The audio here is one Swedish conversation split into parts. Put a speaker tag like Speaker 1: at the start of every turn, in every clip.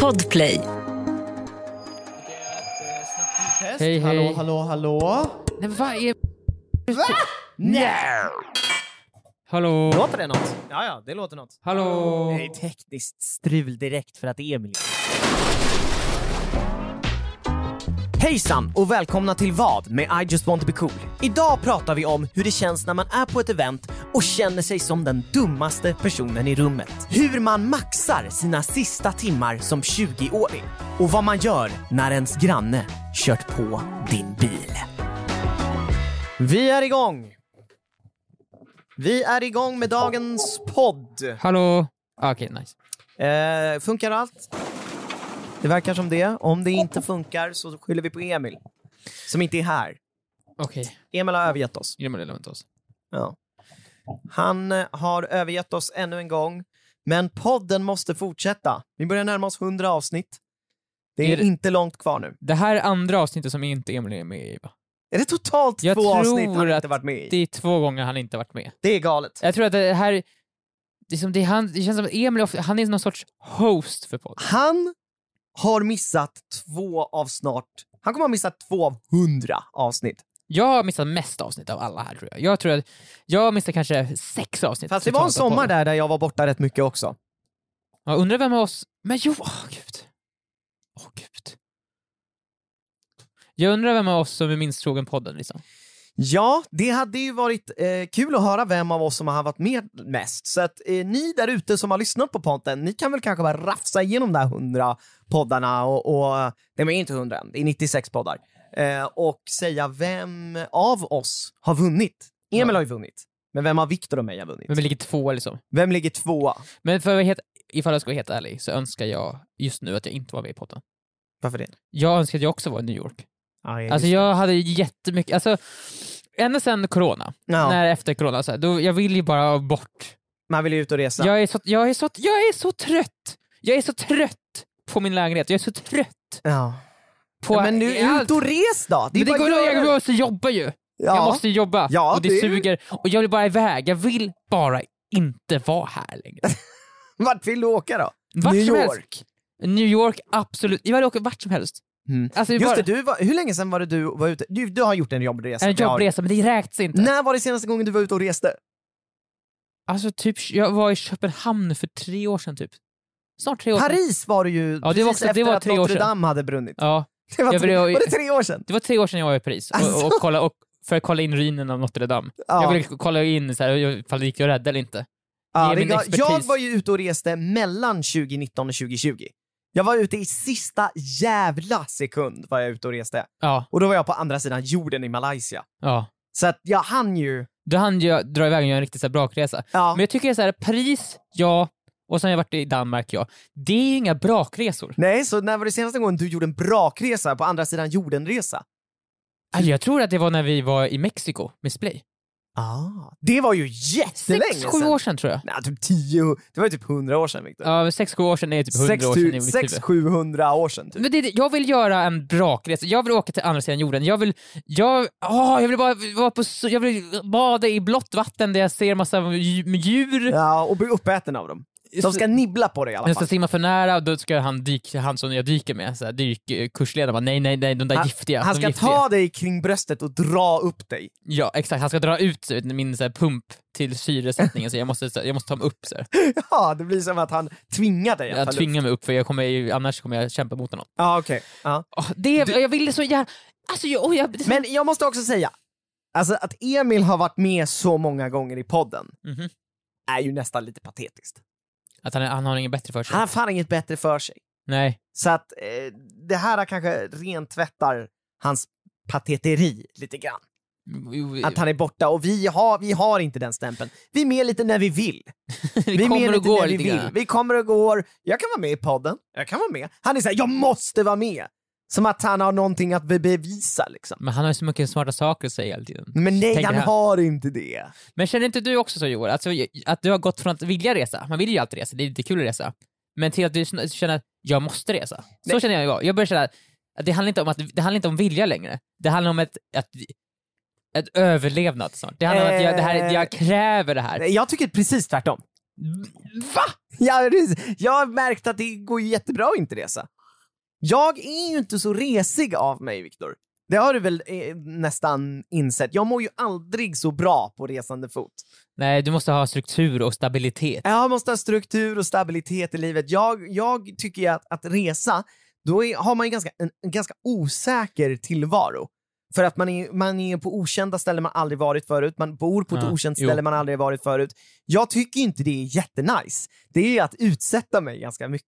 Speaker 1: Podplay.
Speaker 2: Hej,
Speaker 3: Hallå,
Speaker 2: hej.
Speaker 3: hallå, hallå.
Speaker 2: Nej, vad är...
Speaker 3: Nej!
Speaker 2: Hallå?
Speaker 3: Låter det något? Ja, ja, det låter något.
Speaker 2: Hallå?
Speaker 3: Det är tekniskt strul direkt för att det är miljö. Hejsan och välkomna till vad med I just want to be cool. Idag pratar vi om hur det känns när man är på ett event och känner sig som den dummaste personen i rummet. Hur man maxar sina sista timmar som 20-åring och vad man gör när ens granne kört på din bil. Vi är igång! Vi är igång med dagens podd.
Speaker 2: Hallå? Ah, Okej, nice.
Speaker 3: Eh, funkar allt? Det verkar som det. Om det inte funkar så skyller vi på Emil, som inte är här.
Speaker 2: Okej.
Speaker 3: Emil har övergett oss.
Speaker 2: Glömmer det, lämna oss.
Speaker 3: Ja. Han eh, har övergett oss ännu en gång, men podden måste fortsätta. Vi börjar närma oss 100 avsnitt. Det är,
Speaker 2: Är det-
Speaker 3: inte långt kvar nu.
Speaker 2: Det här är andra avsnittet som inte Emil är med i, va?
Speaker 3: Är det totalt
Speaker 2: Jag
Speaker 3: två
Speaker 2: tror
Speaker 3: avsnitt han
Speaker 2: att
Speaker 3: inte varit med i?
Speaker 2: Det är två gånger han inte varit med.
Speaker 3: Det är galet.
Speaker 2: Jag tror att det här... Det, är som, det, är han, det känns som att Emil ofta, han är någon sorts host för podden.
Speaker 3: Han har missat två av snart... Han kommer ha missat två av 100 avsnitt.
Speaker 2: Jag har missat mest avsnitt av alla här tror jag. Jag tror att jag missade kanske sex avsnitt.
Speaker 3: Fast det var en
Speaker 2: totalt av
Speaker 3: sommar
Speaker 2: podden.
Speaker 3: där, där jag var borta rätt mycket också.
Speaker 2: Ja, undrar vem av oss... Men jo, åh gud. Åh gud. Jag undrar vem av oss som är minst trogen podden liksom.
Speaker 3: Ja, det hade ju varit eh, kul att höra vem av oss som har varit med mest. Så att eh, ni där ute som har lyssnat på podden, ni kan väl kanske bara rafsa igenom de där hundra poddarna och, och nej men inte hundra än, det är 96 poddar. Eh, och säga vem av oss har vunnit. Emil
Speaker 2: Ja.
Speaker 3: har ju vunnit, men vem av Viktor och mig har vunnit?
Speaker 2: Vem ligger tvåa liksom.
Speaker 3: Vem ligger tvåa?
Speaker 2: Men för att vara helt, ifall jag ska vara helt ärlig så önskar jag just nu att jag inte var med i podden.
Speaker 3: Varför det?
Speaker 2: Jag önskar att jag också var i New York.
Speaker 3: Aj,
Speaker 2: Alltså jag hade jättemycket, alltså ända sedan corona,
Speaker 3: ja,
Speaker 2: när efter corona, så här, då, jag vill ju bara bort.
Speaker 3: Man vill ju ut och resa.
Speaker 2: Jag är, så, jag, är så, jag är så trött! Jag är så trött på min lägenhet, jag är så trött
Speaker 3: Ja.
Speaker 2: på
Speaker 3: men nu,
Speaker 2: allt.
Speaker 3: ut och res då!
Speaker 2: Men det
Speaker 3: bara
Speaker 2: går
Speaker 3: att
Speaker 2: jag,
Speaker 3: göra-
Speaker 2: jag måste jobba ju!
Speaker 3: ja.
Speaker 2: Jag måste jobba
Speaker 3: Ja,
Speaker 2: och det,
Speaker 3: det är-
Speaker 2: suger och jag vill bara iväg, jag vill bara inte vara här längre.
Speaker 3: Vart vill du åka då?
Speaker 2: Vart
Speaker 3: New
Speaker 2: som
Speaker 3: York.
Speaker 2: helst. New York, absolut. Jag vill åka vart som helst.
Speaker 3: Mm.
Speaker 2: Alltså,
Speaker 3: Just
Speaker 2: bara,
Speaker 3: det, du var, hur länge sedan var det du var ute? Du, du har gjort en jobbresa.
Speaker 2: en
Speaker 3: Jag har-
Speaker 2: jobbresa, men det räknas inte.
Speaker 3: När var det senaste gången du var ute och reste?
Speaker 2: Alltså typ, jag var i Köpenhamn för tre år sedan typ. Snart tre år sedan.
Speaker 3: Paris var du ju
Speaker 2: var
Speaker 3: precis
Speaker 2: också- det
Speaker 3: efter
Speaker 2: var
Speaker 3: att
Speaker 2: tre år
Speaker 3: Notre
Speaker 2: sedan.
Speaker 3: Dame hade brunnit.
Speaker 2: Ja,
Speaker 3: Det var,
Speaker 2: Jag
Speaker 3: tre,
Speaker 2: blev-
Speaker 3: var det tre år sedan?
Speaker 2: det var tre år sedan jag var i Paris och, och,
Speaker 3: Alltså.
Speaker 2: kolla, och för att kolla in ruinen av Notre Dame.
Speaker 3: Ja.
Speaker 2: Jag ville kolla in så här, ifall det gick att rädda eller inte.
Speaker 3: Ja,
Speaker 2: ge
Speaker 3: det
Speaker 2: min
Speaker 3: var-
Speaker 2: expertis.
Speaker 3: jag var ju ute och reste mellan 2019 och 2020. Jag var ute i sista jävla sekund var jag ute och reste.
Speaker 2: Ja,
Speaker 3: Och då var jag på andra sidan jorden i Malaysia.
Speaker 2: ja.
Speaker 3: Så att jag hann ju...
Speaker 2: Då hann jag dra iväg och göra en riktigt så här brakresa.
Speaker 3: Ja.
Speaker 2: Men jag tycker så här, Paris, ja, och sen har jag varit i Danmark, ja. Det är ju inga brakresor.
Speaker 3: Nej, så när var det senaste gången du gjorde en brakresa på andra sidan jorden-resa?
Speaker 2: Alltså, jag tror att det var när vi var i Mexiko med Splay.
Speaker 3: Ah, det var ju jättelänge
Speaker 2: Sex, sju
Speaker 3: sedan!
Speaker 2: år sedan tror jag.
Speaker 3: Nej, typ tio... Det var ju typ hundra år sedan, Viktor.
Speaker 2: Ja, men sex, sju år sedan är typ hundra år sedan i mitt huvud.
Speaker 3: 600-700 år sedan typ.
Speaker 2: Men det, är det- jag vill göra en brakresa, jag vill åka till andra sidan jorden, jag vill, jag, åh, jag vill bara vara på, s- jag vill bada i blått vatten där jag ser massa dju- djur,
Speaker 3: Ja, och bli uppäten av dem. De ska nibbla på dig i alla
Speaker 2: jag ska
Speaker 3: fall.
Speaker 2: simma för nära och då ska han, dyk, han som jag dyker med, så här, dykkursledaren bara nej nej nej de där giftiga.
Speaker 3: Han
Speaker 2: de
Speaker 3: ska
Speaker 2: giftiga.
Speaker 3: ta dig kring bröstet och dra upp dig.
Speaker 2: Ja exakt, han ska dra ut så, min så här, pump till syresättningen så jag måste, så, här, jag måste ta mig upp så här.
Speaker 3: Ja, det blir som att han tvingar dig att ta
Speaker 2: Jag
Speaker 3: luft.
Speaker 2: tvingar mig upp för jag kommer, ju- annars kommer jag kämpa mot honom.
Speaker 3: Ja, okej. Ja.
Speaker 2: Åh, det, jag ville så gärna, alltså jag, oh, jag,
Speaker 3: Men jag måste också säga, alltså att Emil har varit med så många gånger i podden
Speaker 2: Mhm.
Speaker 3: är ju nästan lite patetiskt.
Speaker 2: att han, han har inget bättre för sig.
Speaker 3: Han har fan inget bättre för sig.
Speaker 2: Nej.
Speaker 3: Så att eh, det här kanske rentvättar hans pateteri lite grann.
Speaker 2: Typ.
Speaker 3: Att han är borta och vi har, vi har inte den stämpeln. Vi är med lite när vi vill.
Speaker 2: vi,
Speaker 3: är med
Speaker 2: kommer och
Speaker 3: lite
Speaker 2: går
Speaker 3: när vi
Speaker 2: lite
Speaker 3: vill.
Speaker 2: grann.
Speaker 3: Vi kommer och går. Jag kan vara med i podden. Jag kan vara med. Han är såhär, jag måste vara med! Som att han har någonting att be- bevisa liksom.
Speaker 2: Men han har ju så mycket smarta saker att säga hela tiden.
Speaker 3: Men nej,
Speaker 2: Tänker
Speaker 3: han
Speaker 2: han.
Speaker 3: har inte det.
Speaker 2: Men känner inte du också så Joel, alltså, att du har gått från att vilja resa, man vill ju alltid resa, det är lite kul att resa, men till att du sn- känner att jag måste resa. Så
Speaker 3: Nej.
Speaker 2: känner jag idag. Jag börjar känna att det handlar inte om, att, det handlar inte om vilja längre. Det handlar om ett, ett, Eh, ett överlevnad snart. Det handlar om att jag, det här, jag kräver det här.
Speaker 3: Nej, Jag tycker precis tvärtom.
Speaker 2: Va?
Speaker 3: Ja, det- jag har märkt att det går ju jättebra att inte resa. Jag är ju inte så resig av mig, Viktor. Det har du väl eh, nästan insett? Jag mår ju aldrig så bra på resande fot.
Speaker 2: Nej, du måste ha struktur och stabilitet.
Speaker 3: Jag måste ha struktur och stabilitet i livet. Jag, jag tycker ju att, att resa, då är, har man ju ganska, en, en ganska osäker tillvaro. För att man är, man är på okända ställen man aldrig varit förut, man bor på ett
Speaker 2: Ja,
Speaker 3: okänt
Speaker 2: jo.
Speaker 3: ställe man aldrig varit förut. Jag tycker ju inte det är jättenice. Det är ju att utsätta mig ganska mycket,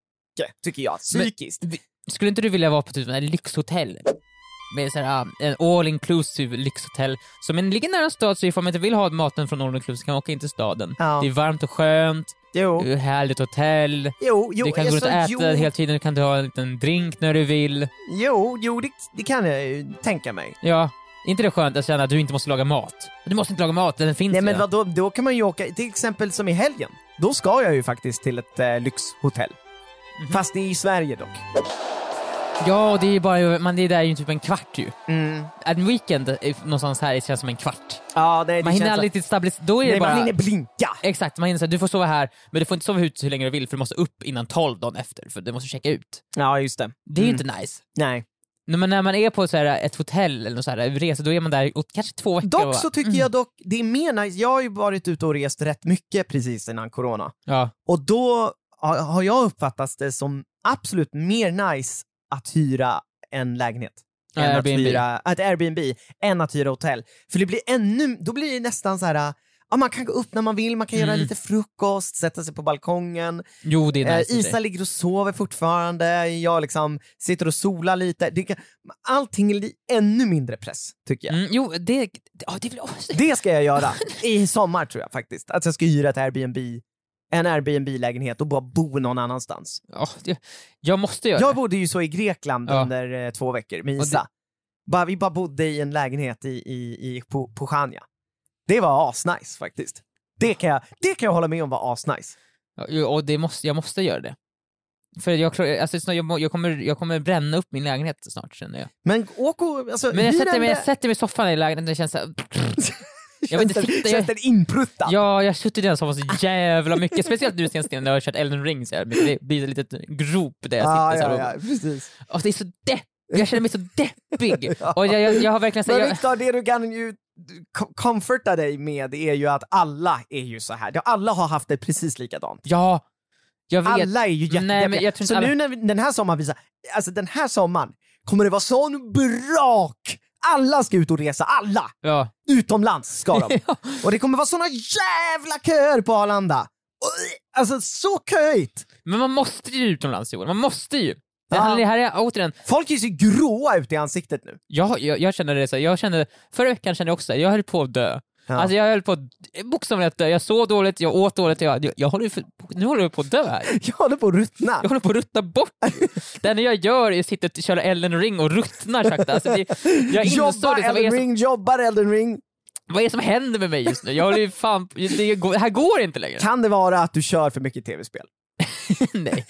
Speaker 3: tycker jag, psykiskt.
Speaker 2: Skulle inte du vilja vara på typ ett lyxhotell? Med så här, ah, en all inclusive lyxhotell. Som en ligger nära en stad, så ifall man inte vill ha maten från all inclusive kan man åka in till staden.
Speaker 3: Ja.
Speaker 2: Det är varmt och skönt,
Speaker 3: jo,
Speaker 2: det är härligt hotell,
Speaker 3: jo, jo, alltså,
Speaker 2: du kan gå runt och äta
Speaker 3: jo,
Speaker 2: hela tiden, du kan ta en liten drink när du vill.
Speaker 3: jo, jo det, det kan jag ju tänka mig.
Speaker 2: Ja, är inte det skönt att känna att du inte måste laga mat? Du måste inte laga mat, den finns
Speaker 3: Nej men
Speaker 2: redan.
Speaker 3: vadå, då kan man ju åka, till exempel som i helgen, då ska jag ju faktiskt till ett eh, lyxhotell. Fast det är i Sverige dock.
Speaker 2: Ja, det är ju bara, man det är där ju typ en kvart ju.
Speaker 3: Mm.
Speaker 2: En weekend eh, någonstans här känns som en kvart.
Speaker 3: Ja, nej, det
Speaker 2: Man hinner
Speaker 3: känns-
Speaker 2: aldrig till stabilis... Då är
Speaker 3: Nej,
Speaker 2: det bara...
Speaker 3: man hinner blinka.
Speaker 2: Exakt, man hinner säga du får sova här, men du får inte sova ute hur länge du vill för du måste upp innan 12 dagen efter, för du måste checka ut.
Speaker 3: Ja, just det.
Speaker 2: Det är ju inte nice.
Speaker 3: Nej.
Speaker 2: Nej, Men när man är på så här, ett hotell eller något så här, resa, då är man där åt kanske två veckor. och
Speaker 3: Dock
Speaker 2: bara,
Speaker 3: så tycker jag dock, det är mer nice, jag har ju varit ute och rest rätt mycket precis innan corona.
Speaker 2: Ja.
Speaker 3: Och då har- har jag uppfattat det som absolut mer nice att hyra en lägenhet.
Speaker 2: Ja,
Speaker 3: än
Speaker 2: Airbnb.
Speaker 3: Att hyra, ett Airbnb, än att hyra hotell. För det blir ännu, då blir det nästan så här, äh, ja, man kan gå upp när man vill, man kan göra
Speaker 2: Mm.
Speaker 3: lite frukost, sätta sig på balkongen.
Speaker 2: Jo, det är
Speaker 3: Eh,
Speaker 2: nice. i och för
Speaker 3: Isa
Speaker 2: sig.
Speaker 3: ligger och sover fortfarande, jag liksom sitter och solar lite. Det kan, allting är li- ännu mindre press, tycker jag.
Speaker 2: Mm, jo, det... det- Ja, det vill jag också.
Speaker 3: Det ska jag göra i sommar tror jag faktiskt. Att jag ska hyra ett Airbnb, en Airbnb-lägenhet och bara bo någon annanstans.
Speaker 2: Ja, det- jag måste göra
Speaker 3: Jag
Speaker 2: det.
Speaker 3: bodde ju så i Grekland
Speaker 2: Ja.
Speaker 3: under eh, två veckor med
Speaker 2: Och det-
Speaker 3: Isa. Bara, vi bara bodde i en lägenhet i, i, i, på, på Chania. Det var asnice faktiskt. Det kan, jag, det kan jag hålla med om var asnice.
Speaker 2: Ja, jo, Och det måste, jag måste göra det. För jag, klarar- alltså, snart- jag, må- jag, kommer, jag kommer bränna upp min lägenhet snart känner jag.
Speaker 3: Men åk och... Alltså,
Speaker 2: Men jag
Speaker 3: hyr
Speaker 2: sätter,
Speaker 3: en
Speaker 2: mig, jag
Speaker 3: lä-
Speaker 2: sätter mig i soffan i lägenheten och det känns såhär... jag vill inte
Speaker 3: Känns den-
Speaker 2: sitta- jag-
Speaker 3: Känns den inpruttad?
Speaker 2: Ja, jag har suttit i den soffan så jävla mycket. Speciellt nu senaste tiden när jag har kört Elden ring så jävla mycket. Det blir ett litet grop där jag
Speaker 3: Ah, Ja,
Speaker 2: sitter. så
Speaker 3: ja,
Speaker 2: här
Speaker 3: ja,
Speaker 2: och-
Speaker 3: precis.
Speaker 2: Och det är så depp. Jag känner mig så deppig. Och jag, jag, jag har verkligen... Så,
Speaker 3: Men
Speaker 2: jag,
Speaker 3: Viktor, det du kan ju kom- comforta dig med är ju att alla är ju så här. Ja, Alla har haft det precis likadant.
Speaker 2: ja, jag vet.
Speaker 3: Alla är
Speaker 2: Nej,
Speaker 3: ju
Speaker 2: men
Speaker 3: jättedeppiga.
Speaker 2: jag tror inte
Speaker 3: Så
Speaker 2: alla-
Speaker 3: nu när vi, den här sommaren visar, alltså den här sommaren kommer det vara sån brak! Alla ska ut och resa, alla!
Speaker 2: Ja.
Speaker 3: Utomlands ska de. Och det kommer vara såna jävla köer på Arlanda! Och- Alltså så köigt!
Speaker 2: Men man måste ju utomlands Joel, man måste ju. Det
Speaker 3: Ja.
Speaker 2: här, det här är återigen,
Speaker 3: Folk är så gråa ute i ansiktet nu.
Speaker 2: jag, jag, jag känner det så här, jag kände, förra veckan kände jag också jag höll på att dö.
Speaker 3: Ja.
Speaker 2: Alltså jag höll på att- bokstavligen att dö, jag sov dåligt, jag åt dåligt, jag, jag, jag håller ju för, nu håller jag på att dö här.
Speaker 3: Jag håller på att ruttna.
Speaker 2: Jag håller på att ruttna bort. Det enda jag gör är att sitta och köra Elden ring och ruttnar sakta. Alltså det, jag insåg
Speaker 3: Jobbar
Speaker 2: det, så vad, är
Speaker 3: Elden
Speaker 2: som,
Speaker 3: Ring, jobbar Elden Ring.
Speaker 2: vad är det som händer med mig just nu? Jag håller ju fan, på- det, går- det här går inte längre.
Speaker 3: Kan det vara att du kör för mycket tv-spel?
Speaker 2: Nej.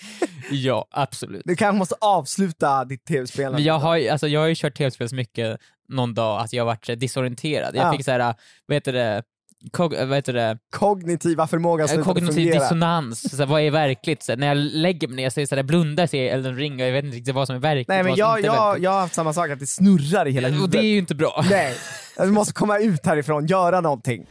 Speaker 2: Ja, absolut.
Speaker 3: Du kanske måste avsluta ditt tv-spelande.
Speaker 2: Men jag har, ju- alltså, jag har ju kört tv-spel så mycket någon dag att jag har varit så här disorienterad. Jag
Speaker 3: Ja.
Speaker 2: fick så här, vad heter det, kog, vad heter det?
Speaker 3: Kognitiva förmågan slutar
Speaker 2: kognitiv
Speaker 3: fungera.
Speaker 2: dissonans. Så här, vad är verkligt? Så här, när jag lägger mig ner så, är det så här, jag blundar ser jag Elden ring och jag vet inte riktigt vad som är verkligt.
Speaker 3: Nej men
Speaker 2: vad som
Speaker 3: jag,
Speaker 2: inte är
Speaker 3: jag,
Speaker 2: verkligt.
Speaker 3: jag har haft samma sak, att det snurrar i hela
Speaker 2: Och
Speaker 3: huvudet.
Speaker 2: det är ju inte bra.
Speaker 3: Nej, vi måste komma ut härifrån, göra någonting.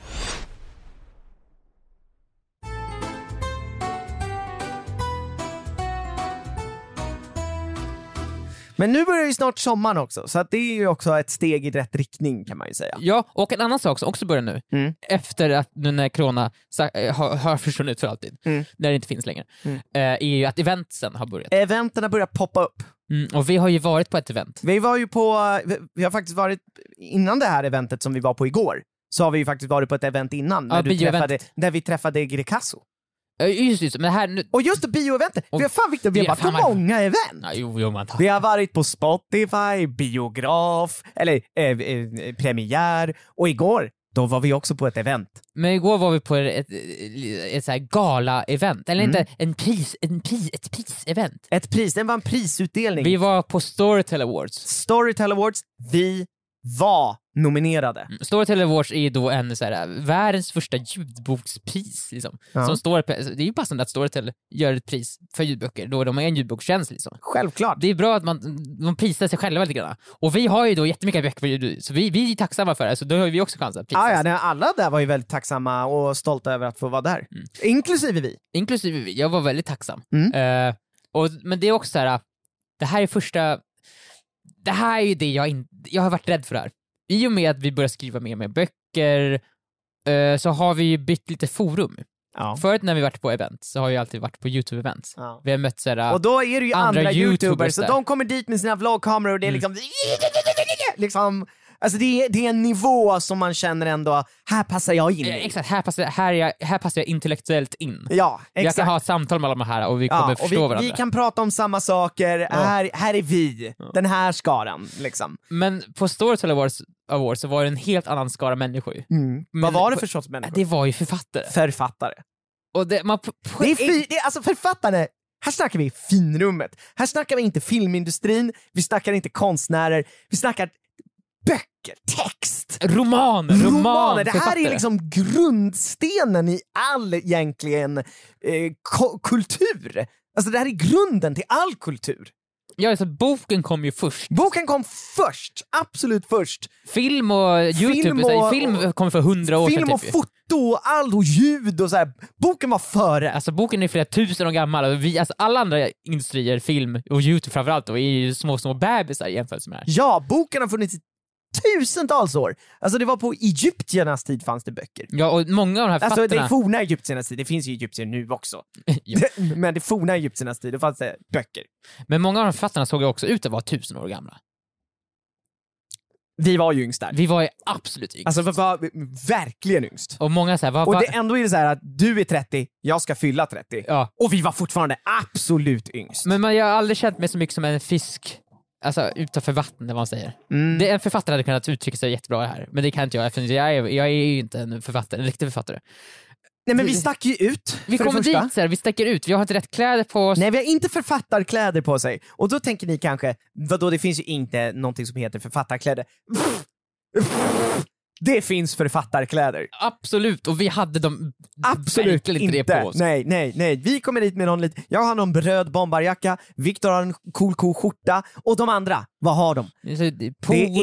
Speaker 3: Men nu börjar ju snart sommaren också, så att det är ju också ett steg i rätt riktning kan man ju säga.
Speaker 2: Ja, och en annan sak som också börjar nu,
Speaker 3: Mm.
Speaker 2: efter att nu när corona sa- eh, har, har försvunnit för alltid,
Speaker 3: Mm.
Speaker 2: när det inte finns längre,
Speaker 3: Mm.
Speaker 2: eh, är ju att eventsen har börjat.
Speaker 3: Eventerna börjar poppa upp.
Speaker 2: Mm, och vi har ju varit på ett event.
Speaker 3: Vi var ju på, vi har faktiskt varit, innan det här eventet som vi var på igår, så har vi ju faktiskt varit på ett event innan, när,
Speaker 2: Ja,
Speaker 3: du
Speaker 2: bioevent.
Speaker 3: träffade, när vi träffade Greekazo.
Speaker 2: Eh, Just, just men det här nu...
Speaker 3: Och just det, bioeventet!
Speaker 2: Och
Speaker 3: Vi har fan Victor, vi
Speaker 2: det-
Speaker 3: har varit på
Speaker 2: fan vad-
Speaker 3: många event!
Speaker 2: Ja, jo, jo, man tar.
Speaker 3: Vi har varit på Spotify, biograf, eller eh, eh, premiär, och igår, då var vi också på ett event.
Speaker 2: Men igår var vi på ett, ett, ett så här gala-event, eller
Speaker 3: Mm.
Speaker 2: inte en pris, en pris, ett pris-event.
Speaker 3: Ett pris, det var en prisutdelning.
Speaker 2: Vi var på Storytel Awards.
Speaker 3: Storytel Awards, vi var nominerade.
Speaker 2: Storytel Awards är ju då en så här, världens första ljudbokspris. Liksom,
Speaker 3: Ja.
Speaker 2: som står, det är ju passande att Storytel gör ett pris för ljudböcker, då de är en ljudbokstjänst. Liksom.
Speaker 3: Självklart.
Speaker 2: Det är bra att man, de prisar sig själva lite grann. Och vi har ju då jättemycket böcker på ljud, så vi, vi är tacksamma för det, så då har vi också chans att prisas.
Speaker 3: Ah, ja, nej, alla där var ju väldigt tacksamma och stolta över att få vara där.
Speaker 2: Mm.
Speaker 3: Inklusive vi.
Speaker 2: Inklusive vi, jag var väldigt tacksam.
Speaker 3: Mm.
Speaker 2: Eh, och, men det är också så här, det här är första, det här är ju det jag, in, jag har varit rädd för det här. I och med att vi börjar skriva mer och mer böcker eh, så har vi ju bytt lite forum.
Speaker 3: Ja.
Speaker 2: Förut när vi varit på event så har jag alltid varit på youtube-event.
Speaker 3: Ja.
Speaker 2: Vi har mött såhär,
Speaker 3: Och då är det ju andra,
Speaker 2: Andra
Speaker 3: youtubers,
Speaker 2: YouTubers
Speaker 3: så
Speaker 2: där. Mm.
Speaker 3: de kommer dit med sina vloggkameror och det är liksom... liksom alltså det, är, det är en nivå som man känner ändå, här passar jag in
Speaker 2: eh,
Speaker 3: i.
Speaker 2: exakt här passar, här, är jag, här passar jag intellektuellt in.
Speaker 3: Ja,
Speaker 2: Jag kan
Speaker 3: exakt.
Speaker 2: ha ett samtal med alla de här och vi kommer
Speaker 3: Ja, och
Speaker 2: förstå
Speaker 3: vi,
Speaker 2: varandra.
Speaker 3: vi kan prata om samma saker, här, här är vi, den här skaran. Liksom.
Speaker 2: Men på Storytel Awards, Awards så var det en helt annan skara människor. Men-
Speaker 3: Mm. Vad var det för sorts människor?
Speaker 2: Det var ju författare.
Speaker 3: Författare.
Speaker 2: Och det, man, på, på,
Speaker 3: Det är fi, det är, alltså författare, här snackar vi finrummet. Här snackar vi inte filmindustrin, vi snackar inte konstnärer, vi snackar böcker, text.
Speaker 2: roman, roman,
Speaker 3: Romaner, det här är
Speaker 2: författare.
Speaker 3: liksom grundstenen i all egentligen eh, ko- kultur. Alltså det här är grunden till all kultur.
Speaker 2: Ja, alltså, boken kom ju först.
Speaker 3: Boken kom först, absolut först.
Speaker 2: Film och Youtube,
Speaker 3: Film
Speaker 2: film, och,
Speaker 3: och-
Speaker 2: film kom för hundra år
Speaker 3: Film
Speaker 2: sedan
Speaker 3: och
Speaker 2: typ.
Speaker 3: foto och allt och ljud och så här. Boken var före.
Speaker 2: Alltså boken är flera tusen år gammal, och vi, alltså, alla andra industrier, film och Youtube framförallt, då, är ju små, små bebisar i jämförelse med det här.
Speaker 3: Ja, boken har funnits i tusentals år. Alltså det var på egyptiernas tid fanns det böcker.
Speaker 2: Ja, och många av de här
Speaker 3: Alltså det
Speaker 2: författarna...
Speaker 3: är forna egyptiernas tid, det finns ju egyptier nu också.
Speaker 2: Ja.
Speaker 3: Men det forna egyptiernas tid, då fanns det böcker.
Speaker 2: Men många av de författarna såg ju också ut att vara tusen år gamla.
Speaker 3: Vi var ju yngst där.
Speaker 2: Vi var ju absolut yngst.
Speaker 3: Alltså vi var verkligen yngst.
Speaker 2: och många såhär, vad,
Speaker 3: Och
Speaker 2: vad,
Speaker 3: det, ändå är det så här att du är 30, jag ska fylla 30.
Speaker 2: ja.
Speaker 3: Och vi var fortfarande absolut yngst.
Speaker 2: Men man, jag har aldrig känt mig så mycket som en fisk, alltså utanför vattnet vad man säger.
Speaker 3: Mm.
Speaker 2: Det, en författare hade kunnat uttrycka sig jättebra här, men det kan inte jag eftersom jag är, jag är ju inte en författare, en riktig författare.
Speaker 3: Nej men vi stack ju ut.
Speaker 2: Vi
Speaker 3: för det
Speaker 2: kommer
Speaker 3: första.
Speaker 2: dit såhär, vi sticker ut, vi har inte rätt kläder på oss.
Speaker 3: Nej, vi har inte författarkläder på sig. Och då tänker ni kanske, vadå det finns ju inte någonting som heter författarkläder. Pff, pff, Det finns författarkläder.
Speaker 2: Absolut, och vi hade de
Speaker 3: Absolut
Speaker 2: verkligen
Speaker 3: inte.
Speaker 2: inte det på oss.
Speaker 3: Nej, nej, nej. Vi kommer dit med någon liten, jag har någon röd bombarjacka, Viktor har en cool cool skjorta och de andra, vad har de?
Speaker 2: Så det är
Speaker 3: Det är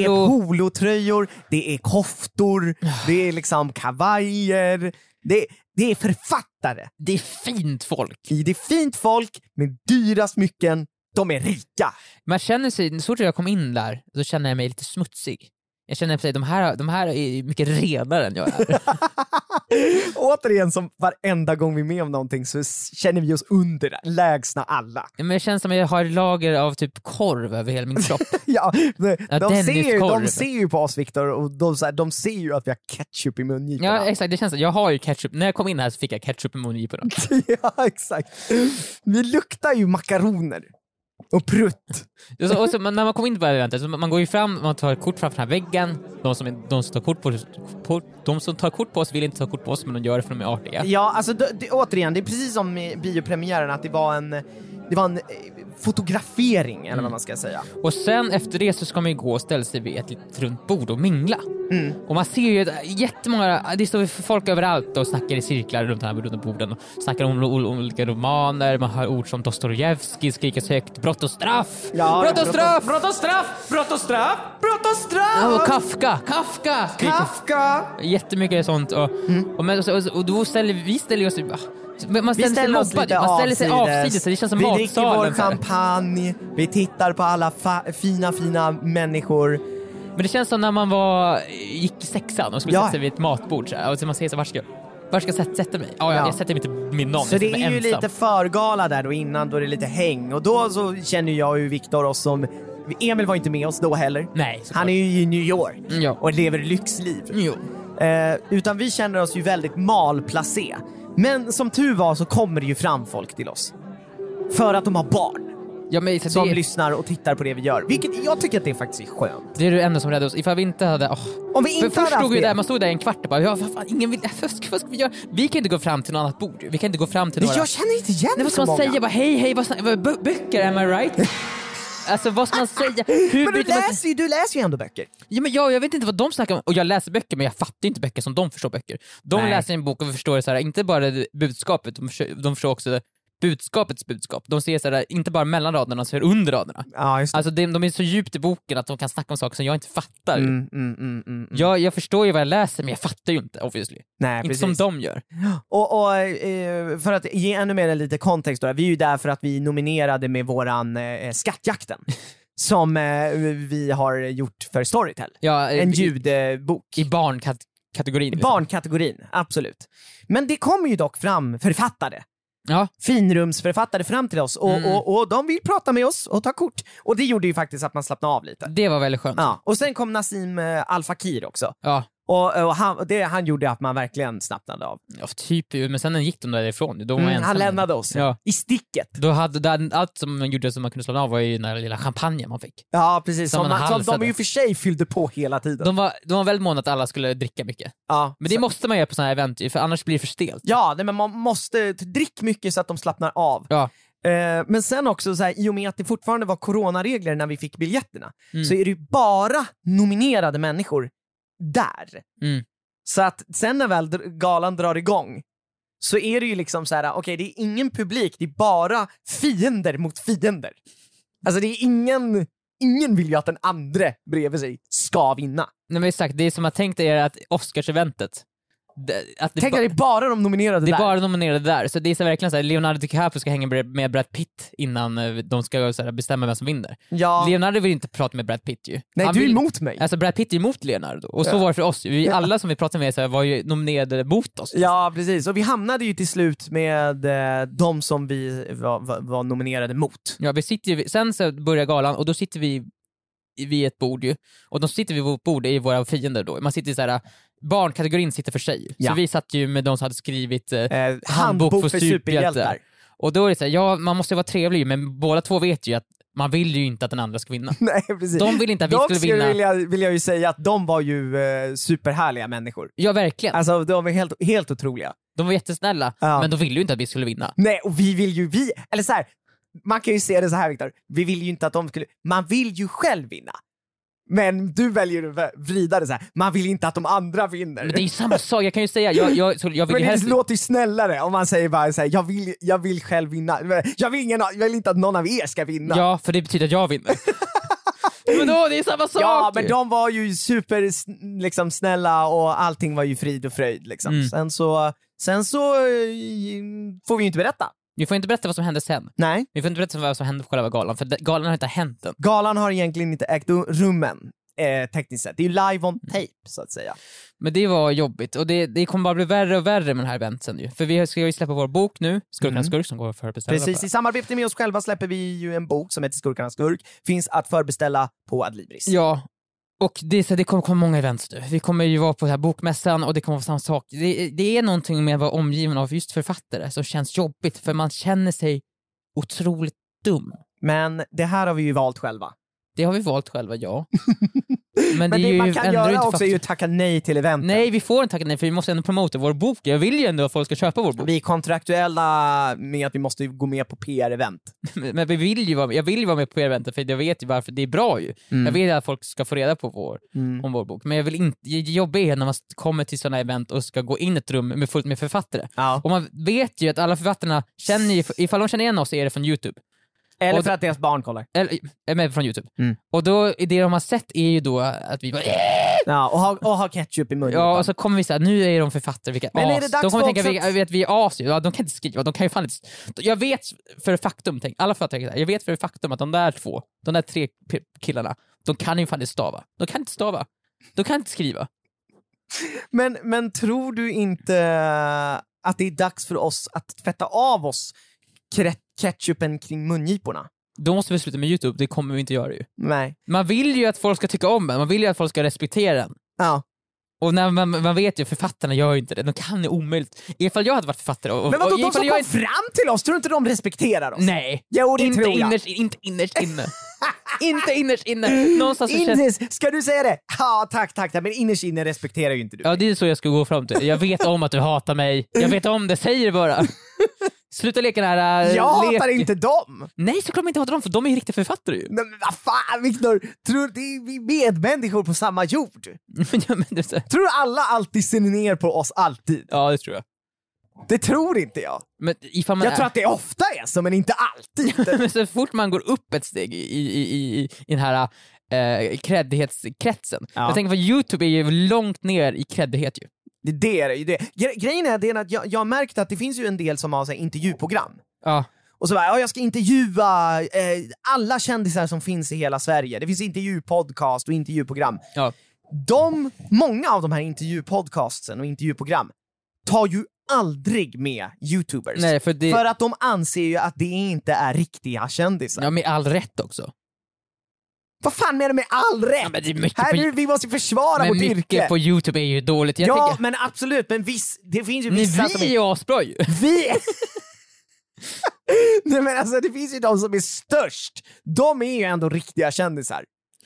Speaker 2: Polo,
Speaker 3: polotröjor, det är koftor, det är liksom kavajer. Det, det är författare.
Speaker 2: det är fint folk.
Speaker 3: Det är fint folk med dyra smycken, de är rika.
Speaker 2: Man känner sig, så fort jag kom in där, så känner jag mig lite smutsig. Jag känner att de här, de här är mycket renare än jag är.
Speaker 3: Återigen, som varenda gång vi är med om någonting så s- känner vi oss underlägsna alla.
Speaker 2: Men jag känner som att jag har lager av typ korv över hela min kropp.
Speaker 3: Ja, de,
Speaker 2: Ja,
Speaker 3: de, ser ju, de
Speaker 2: Dennis-korv.
Speaker 3: ser ju på oss Viktor och de, så här, de ser ju att vi har ketchup i
Speaker 2: Ja
Speaker 3: mungiporna.
Speaker 2: exakt, det känns så. Jag har ju ketchup, när jag kom in här så fick jag ketchup i mungiporna.
Speaker 3: ja, exakt. Vi luktar ju makaroner. Och prutt.
Speaker 2: Och så, och så, men när man kommer in på det här eventet, så man man går ju fram, man tar kort framför den här väggen. De som, de, som tar kort på, på, de som tar kort på oss vill inte ta kort på oss, men de gör det för de är artiga.
Speaker 3: Ja, alltså det, det, återigen, det är precis som i biopremiären att det var en, det var en eh, fotografering eller
Speaker 2: Mm.
Speaker 3: vad man ska säga.
Speaker 2: Och sen efter det så ska man ju gå och ställa sig vid ett litet runt bord och mingla.
Speaker 3: Mm.
Speaker 2: Och man ser ju att jättemånga, det står ju folk överallt och snackar i cirklar runt de här runda borden. Och snackar om ol- olika romaner, man hör ord som Dostojevskij skrikas högt, brott och straff!
Speaker 3: Ja,
Speaker 2: brott
Speaker 3: brott
Speaker 2: och
Speaker 3: och-
Speaker 2: straff! Brott och straff!
Speaker 3: Brott och straff! Brott och straff!
Speaker 2: Ja, och Kafka! Kafka! skriker
Speaker 3: Kafka! Mm.
Speaker 2: Jättemycket sånt. Och, och, men, och, och då ställer vi ställer oss... Men man
Speaker 3: Vi
Speaker 2: ställer,
Speaker 3: ställer oss
Speaker 2: sig mobbad,
Speaker 3: lite
Speaker 2: man ställer sig
Speaker 3: avsides.
Speaker 2: avsides. Det känns som
Speaker 3: vi
Speaker 2: matsalen.
Speaker 3: dricker vår
Speaker 2: så här.
Speaker 3: champagne, vi tittar på alla fa- fina, fina människor.
Speaker 2: Men det känns som när man var, gick i sexan och skulle
Speaker 3: Ja.
Speaker 2: sätta sig vid ett matbord så här, och så man säger så här, var ska, var ska jag sätta, sätta mig? Ja,
Speaker 3: Ja.
Speaker 2: jag, jag sätter mig inte med någon,
Speaker 3: Så
Speaker 2: jag
Speaker 3: det
Speaker 2: sätter mig
Speaker 3: är ju
Speaker 2: ensam.
Speaker 3: lite förgala där då innan, då är det lite häng. Och då så känner jag ju Viktor oss som... Emil var inte med oss då heller.
Speaker 2: Nej, såklart.
Speaker 3: Han är ju i New York
Speaker 2: Mm, ja.
Speaker 3: och lever lyxliv.
Speaker 2: Jo.
Speaker 3: Eh, utan vi känner oss ju väldigt malplacé. Men som tur var så kommer det ju fram folk till oss. För att de har barn
Speaker 2: Ja, men, så
Speaker 3: som
Speaker 2: det,
Speaker 3: lyssnar och tittar på det vi gör. Vilket jag tycker att det faktiskt är skönt.
Speaker 2: det är det enda som räddade oss. Ifall vi inte hade... åh.
Speaker 3: Om vi
Speaker 2: För
Speaker 3: inte
Speaker 2: först
Speaker 3: hade haft
Speaker 2: stod vi
Speaker 3: det-
Speaker 2: där, man stod där i en kvart och bara, ja, vad fan, ingen vill, vad ska, vad ska vi göra? Vi kan inte gå fram till något annat bord. Vi kan inte gå fram till några...
Speaker 3: Jag känner inte igen
Speaker 2: Nej, vad
Speaker 3: så
Speaker 2: ska man
Speaker 3: många.
Speaker 2: säga? Bara, hej, hej, vad, sna- vad, bö- böcker, am I right? Alltså vad ska man säga? Hur
Speaker 3: Men du
Speaker 2: byter man-
Speaker 3: läser, ju, du läser ju ändå böcker.
Speaker 2: Ja, men jag, jag vet inte vad de snackar om, och jag läser böcker men jag fattar inte böcker som de förstår böcker. De
Speaker 3: Nej.
Speaker 2: läser en bok och förstår så här, inte bara det budskapet, de förstår, de förstår också budskapets budskap. De ser så här, inte bara mellan raderna, så här under raderna.
Speaker 3: Ja, just
Speaker 2: Alltså de, de är så djupt i boken att de kan snacka om saker som jag inte fattar.
Speaker 3: Mm, mm, mm, mm.
Speaker 2: Jag, jag förstår ju vad jag läser men jag fattar ju inte obviously.
Speaker 3: Nej,
Speaker 2: inte
Speaker 3: precis.
Speaker 2: som de gör.
Speaker 3: Och, och eh, för att ge ännu mer lite kontext, då, vi är ju där för att vi nominerade med våran eh, Skattjakten, som eh, vi har gjort för Storytel.
Speaker 2: Ja,
Speaker 3: En
Speaker 2: i-
Speaker 3: ljudbok.
Speaker 2: I barnkategorin. liksom.
Speaker 3: Barnkategorin, absolut. Men det kommer ju dock fram författare,
Speaker 2: Ja.
Speaker 3: finrumsförfattare fram till oss och,
Speaker 2: Mm.
Speaker 3: och, och de vill prata med oss och ta kort. Och det gjorde ju faktiskt att man slappnade av lite.
Speaker 2: Det var väldigt skönt.
Speaker 3: Ja. Och sen kom Nassim eh, Al Fakir också.
Speaker 2: Ja.
Speaker 3: Och, eh, och han, och det, han gjorde att man verkligen slappnade av.
Speaker 2: ja, typ ju, men sen gick de därifrån. De var
Speaker 3: Mm,
Speaker 2: ensamma.
Speaker 3: han lämnade oss
Speaker 2: Ja.
Speaker 3: i sticket.
Speaker 2: Då hade, där- allt som man gjorde som man kunde slappna av var ju den där lilla champagnen man fick.
Speaker 3: Ja, precis.
Speaker 2: Som
Speaker 3: Som,
Speaker 2: man
Speaker 3: man, som de
Speaker 2: halsade.
Speaker 3: ju för sig fyllde på hela tiden.
Speaker 2: De var, de var väldigt måna att alla skulle dricka mycket.
Speaker 3: ja.
Speaker 2: Men det måste man göra på sådana här event ju, för annars blir det för stelt.
Speaker 3: ja, nej, men man måste drick mycket så att de slappnar av.
Speaker 2: Ja.
Speaker 3: Eh, men sen också, så här, i och med att det fortfarande var coronaregler när vi fick biljetterna,
Speaker 2: Mm.
Speaker 3: så är det ju bara nominerade människor där.
Speaker 2: Mm.
Speaker 3: Så att sen när väl dr- galan drar igång så är det ju liksom så här, okej det är ingen publik, det är bara fiender mot fiender. Alltså det är ingen, ingen vill ju att den andre bredvid sig ska vinna.
Speaker 2: Nej men exakt, det är som jag tänkte er att Oscars-eventet, det- att det,
Speaker 3: Tänk
Speaker 2: ba-
Speaker 3: att det är bara de nominerade
Speaker 2: det är
Speaker 3: där.
Speaker 2: bara nominerade där. Så det är så verkligen såhär, Leonardo DiCaprio ska hänga med- med Brad Pitt innan eh, de ska så här, bestämma vem som vinner.
Speaker 3: Ja.
Speaker 2: Leonardo vill inte prata med Brad Pitt ju.
Speaker 3: Nej,
Speaker 2: Han
Speaker 3: du är
Speaker 2: vill-
Speaker 3: emot mig.
Speaker 2: Alltså Brad Pitt är emot Leonardo, och så
Speaker 3: Ja.
Speaker 2: var det för oss. Vi, alla som vi pratade med så här, var ju nominerade mot oss.
Speaker 3: Ja, precis. Och vi hamnade ju till slut med eh, de som vi var, var, var nominerade mot.
Speaker 2: Ja, vi sitter ju, sen så börjar galan och då sitter vi i- vid ett bord ju, och de som sitter vid vårt bord är ju våra fiender då. Man sitter så här, barnkategorin sitter för sig,
Speaker 3: Ja.
Speaker 2: så vi satt ju med de som hade skrivit eh,
Speaker 3: Eh,
Speaker 2: handbok för superhjältar. Och då är det så här, ja man måste vara trevlig men båda två vet ju att man vill ju inte att den andra ska vinna.
Speaker 3: Nej, precis.
Speaker 2: De vill inte att vi
Speaker 3: Dock
Speaker 2: skulle vinna.
Speaker 3: Vill, jag, vill jag ju säga att de var ju eh, superhärliga människor.
Speaker 2: Ja verkligen,
Speaker 3: Alltså de var helt, helt otroliga.
Speaker 2: de var jättesnälla
Speaker 3: Ja.
Speaker 2: men de ville ju inte att vi skulle vinna.
Speaker 3: Nej, och vi vill ju, vi, eller så här, man kan ju se det så här Viktor, vi vill ju inte att de skulle, man vill ju själv vinna. Men du väljer att vä- vrida det så här. man vill inte att de andra vinner.
Speaker 2: Men det är ju samma sak, jag kan ju säga, jag, jag, skulle- jag vill
Speaker 3: Men
Speaker 2: ju
Speaker 3: det
Speaker 2: helst...
Speaker 3: låter ju snällare om man säger bara såhär, jag vill, jag vill själv vinna. Jag vill, ingen, jag vill inte att någon av er ska vinna.
Speaker 2: Ja, för det betyder att jag vinner. men då, det är samma sak
Speaker 3: Ja,
Speaker 2: ju.
Speaker 3: men de var ju super sn- liksom, snälla och allting var ju frid och fröjd. Liksom.
Speaker 2: Mm.
Speaker 3: Sen så, sen så eh, får vi ju inte berätta.
Speaker 2: Vi får inte berätta vad som hände sen.
Speaker 3: Nej.
Speaker 2: Vi får inte berätta vad som hände på själva galan, för de- galan har inte hänt än.
Speaker 3: Galan har egentligen inte ägt u- rum än, eh, tekniskt sett. Det är ju live on tape, så att säga.
Speaker 2: Men Mm. det var jobbigt, och det, det kommer bara bli värre och värre med den här eventen ju. För vi ska ju släppa vår bok nu, Skurkarnas skurk, som går för att beställa.
Speaker 3: Mm. Precis, i samarbete med oss själva släpper vi ju en bok som heter Skurkarnas skurk. Finns att förbeställa på Adlibris.
Speaker 2: Ja. Och det, är så, det kommer komma många events nu. Vi kommer ju vara på den här bokmässan och det kommer vara samma sak. Det, det är någonting med att vara omgiven av just författare som känns jobbigt, för man känner sig otroligt dum.
Speaker 3: Men det här har vi ju valt själva.
Speaker 2: Det har vi valt själva, ja. Men det,
Speaker 3: Men det,
Speaker 2: är ju
Speaker 3: man kan
Speaker 2: ändå
Speaker 3: göra
Speaker 2: inte
Speaker 3: också är ju att tacka nej till eventen.
Speaker 2: Nej, vi får inte tacka nej för vi måste ändå promota vår bok. Jag vill ju ändå att folk ska köpa vår bok.
Speaker 3: Vi är kontraktuella med att vi måste gå med på PR-event.
Speaker 2: Men vi vill ju vara, jag vill ju vara med på eventet för jag vet ju varför det är bra ju. Jag vill att folk ska få reda på vår,
Speaker 3: Mm.
Speaker 2: om vår bok. Men jag vill inte, det jobbiga är när man kommer till sådana event och ska gå in i ett rum med fullt med författare.
Speaker 3: Ja.
Speaker 2: Och man vet ju att alla författarna känner ju, ifall de känner igen oss så är det från Youtube.
Speaker 3: Eller
Speaker 2: Och
Speaker 3: för att deras barn kollar.
Speaker 2: Eller, eh, men från Youtube.
Speaker 3: Mm.
Speaker 2: Och då, det de har sett är ju då att vi bara "Äh,
Speaker 3: Ja, och, ha, och ha ketchup i munnen.
Speaker 2: Ja, och så kommer vi såhär, nu är de författare, vilka
Speaker 3: Men är
Speaker 2: as.
Speaker 3: det dags
Speaker 2: de kommer
Speaker 3: för
Speaker 2: tänka,
Speaker 3: också
Speaker 2: vilka,
Speaker 3: att-
Speaker 2: vet, vi är as ju. ja, de kan inte skriva, de kan ju fan inte... Jag vet för faktum, tänk, alla författare tänker så här, jag vet för faktum att de där två, de där tre p- killarna, de kan ju fan inte stava. De kan inte stava. De kan inte skriva.
Speaker 3: men, men tror du inte att det är dags för oss att tvätta av oss kre- ketchupen kring mungiporna?
Speaker 2: Då måste vi sluta med YouTube, det kommer vi inte göra ju.
Speaker 3: Nej.
Speaker 2: Man vill ju att folk ska tycka om en, man vill ju att folk ska respektera en.
Speaker 3: Ja.
Speaker 2: Och när man, man vet ju, författarna gör ju inte det, de kan ju omöjligt. Ifall jag hade varit författare och...
Speaker 3: Men vadå,
Speaker 2: och,
Speaker 3: de
Speaker 2: ifall
Speaker 3: som
Speaker 2: jag
Speaker 3: kom
Speaker 2: inte-
Speaker 3: fram till oss, tror du inte de respekterar oss?
Speaker 2: Nej!
Speaker 3: Jo, det
Speaker 2: inte
Speaker 3: tror jag.
Speaker 2: innerst, inte innerst inne. inte innerst inne. Någonstans så känns-
Speaker 3: Innerst, ska du säga det? Ja, tack, tack, tack. Men innerst inne respekterar ju inte du.
Speaker 2: Ja, det är så jag ska gå fram till. Jag vet om att du hatar mig. Jag vet om det, säg det bara. Sluta leka den här... äh,
Speaker 3: Jag
Speaker 2: leken.
Speaker 3: hatar inte dem!
Speaker 2: Nej, såklart man inte hatar dem, för de är ju riktiga författare ju.
Speaker 3: Nej, men vad fan Viktor! Tror du det är vi medmänniskor på samma jord?
Speaker 2: Ja, men det är så här-
Speaker 3: Tror du alla alltid ser ner på oss alltid?
Speaker 2: ja, det tror jag.
Speaker 3: Det tror inte jag.
Speaker 2: Men ifall man
Speaker 3: Jag
Speaker 2: är...
Speaker 3: tror att det ofta är så, men inte alltid.
Speaker 2: Men så fort man går upp ett steg i, i, i, i, i den här eh, kreddighetskretsen.
Speaker 3: Ja.
Speaker 2: Jag tänker på Youtube är ju långt ner i kreddighet ju.
Speaker 3: Det- Det är det ju. Det. Gre- Grejen är den att jag, jag har märkt att det finns ju en del som har så här, intervjuprogram.
Speaker 2: Ja.
Speaker 3: Och så bara, ja, jag ska intervjua eh, alla kändisar som finns i hela Sverige. Det finns intervjupodcast och intervjuprogram.
Speaker 2: Ja.
Speaker 3: De, många av de här intervjupodcasten och intervjuprogram tar ju aldrig med youtubers.
Speaker 2: Nej, för det...
Speaker 3: För att de anser ju att det inte är riktiga kändisar.
Speaker 2: Ja, med all rätt också.
Speaker 3: Vad fan menar du med all rätt?
Speaker 2: Ja, men det är mycket
Speaker 3: här
Speaker 2: på-
Speaker 3: är det, vi måste försvara
Speaker 2: Men
Speaker 3: vårt
Speaker 2: mycket
Speaker 3: yrke.
Speaker 2: på Youtube är ju dåligt. Jag
Speaker 3: ja,
Speaker 2: tänker,
Speaker 3: men absolut. Men viss, det finns ju
Speaker 2: ni,
Speaker 3: vissa som
Speaker 2: vi är ju asbra ju.
Speaker 3: Vi... Nej men alltså det finns ju de som är störst. De är ju ändå riktiga kändisar.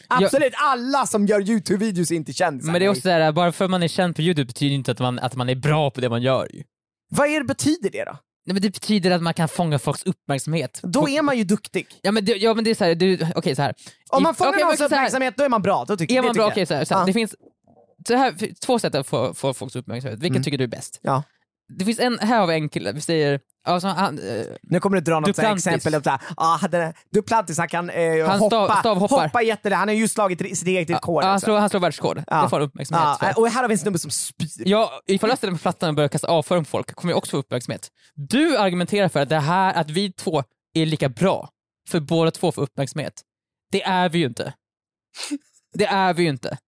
Speaker 3: Absolut, alla som gör YouTube-videos är inte kändisar.
Speaker 2: Men det är också såhär, bara för att man är känd på Youtube betyder inte att man, att man är bra på det man gör ju.
Speaker 3: Vad är det betyder det då?
Speaker 2: Nej, men det betyder att man kan fånga folks uppmärksamhet.
Speaker 3: Då är man ju duktig.
Speaker 2: Ja men det, ja, men det är såhär, du- okej såhär. I-
Speaker 3: Om man får
Speaker 2: okej,
Speaker 3: någons
Speaker 2: men så här-
Speaker 3: uppmärksamhet, då är man bra. Då tycker,
Speaker 2: Är
Speaker 3: det
Speaker 2: man
Speaker 3: tycker
Speaker 2: bra,
Speaker 3: jag.
Speaker 2: okej såhär, såhär.
Speaker 3: Ja.
Speaker 2: det finns så här, f- två sätt att få, få folks uppmärksamhet. Vilket tycker du är bäst?
Speaker 3: Mm. Ja.
Speaker 2: Det finns en, här har vi en kille, vi säger, alltså, han, eh,
Speaker 3: Nu kommer du dra något så här
Speaker 2: Duplantis.
Speaker 3: exempel. Där, ah, den här, Duplantis, han kan eh,
Speaker 2: Han stav-
Speaker 3: hoppa,
Speaker 2: stavhoppar.
Speaker 3: hoppa jättelätt. Han har ju slagit re- sitt eget rekord.
Speaker 2: han,
Speaker 3: alltså.
Speaker 2: slår, han slår världsrekord, det får han uppmärksamhet
Speaker 3: Ja, eh,
Speaker 2: för.
Speaker 3: och här har vi en snubbe som spyr.
Speaker 2: Ja, ifall jag ställer mig på plattan och börjar kasta avföring på folk kommer jag också få uppmärksamhet. Du argumenterar för att, det här, att vi två är lika bra, för båda två får uppmärksamhet. Det är vi ju inte. Det är vi ju inte.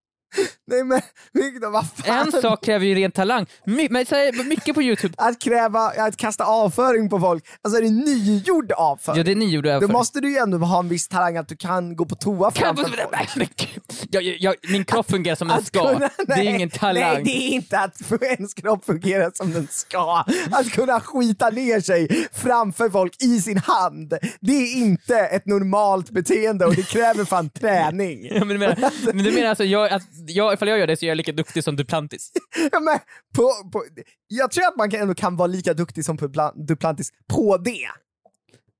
Speaker 3: Nej men Victor, vad fan.
Speaker 2: En sak kräver ju ren talang, My, men så här, mycket på Youtube.
Speaker 3: Att kräva, att kasta avföring på folk. Alltså är det nygjord avföring?
Speaker 2: Ja, det är nio du
Speaker 3: Då
Speaker 2: överför.
Speaker 3: måste du ju ändå ha en viss talang att du kan gå på toa
Speaker 2: Kan
Speaker 3: framför folk.
Speaker 2: Nej, men gud. jag, jag, jag, min kropp fungerar som den
Speaker 3: Att
Speaker 2: ska.
Speaker 3: kunna-
Speaker 2: det är
Speaker 3: nej,
Speaker 2: ingen talang.
Speaker 3: Nej, det är inte att få ens kropp fungerar som den ska. Att kunna skita ner sig framför folk i sin hand, det är inte ett normalt beteende och det kräver fan träning.
Speaker 2: Ja, men du menar, men du menar alltså, jag, att jag, ifall jag gör det så är jag lika duktig som Duplantis?
Speaker 3: Ja, men på, på, jag tror att man kan, ändå kan vara lika duktig som Pupla- Duplantis på det.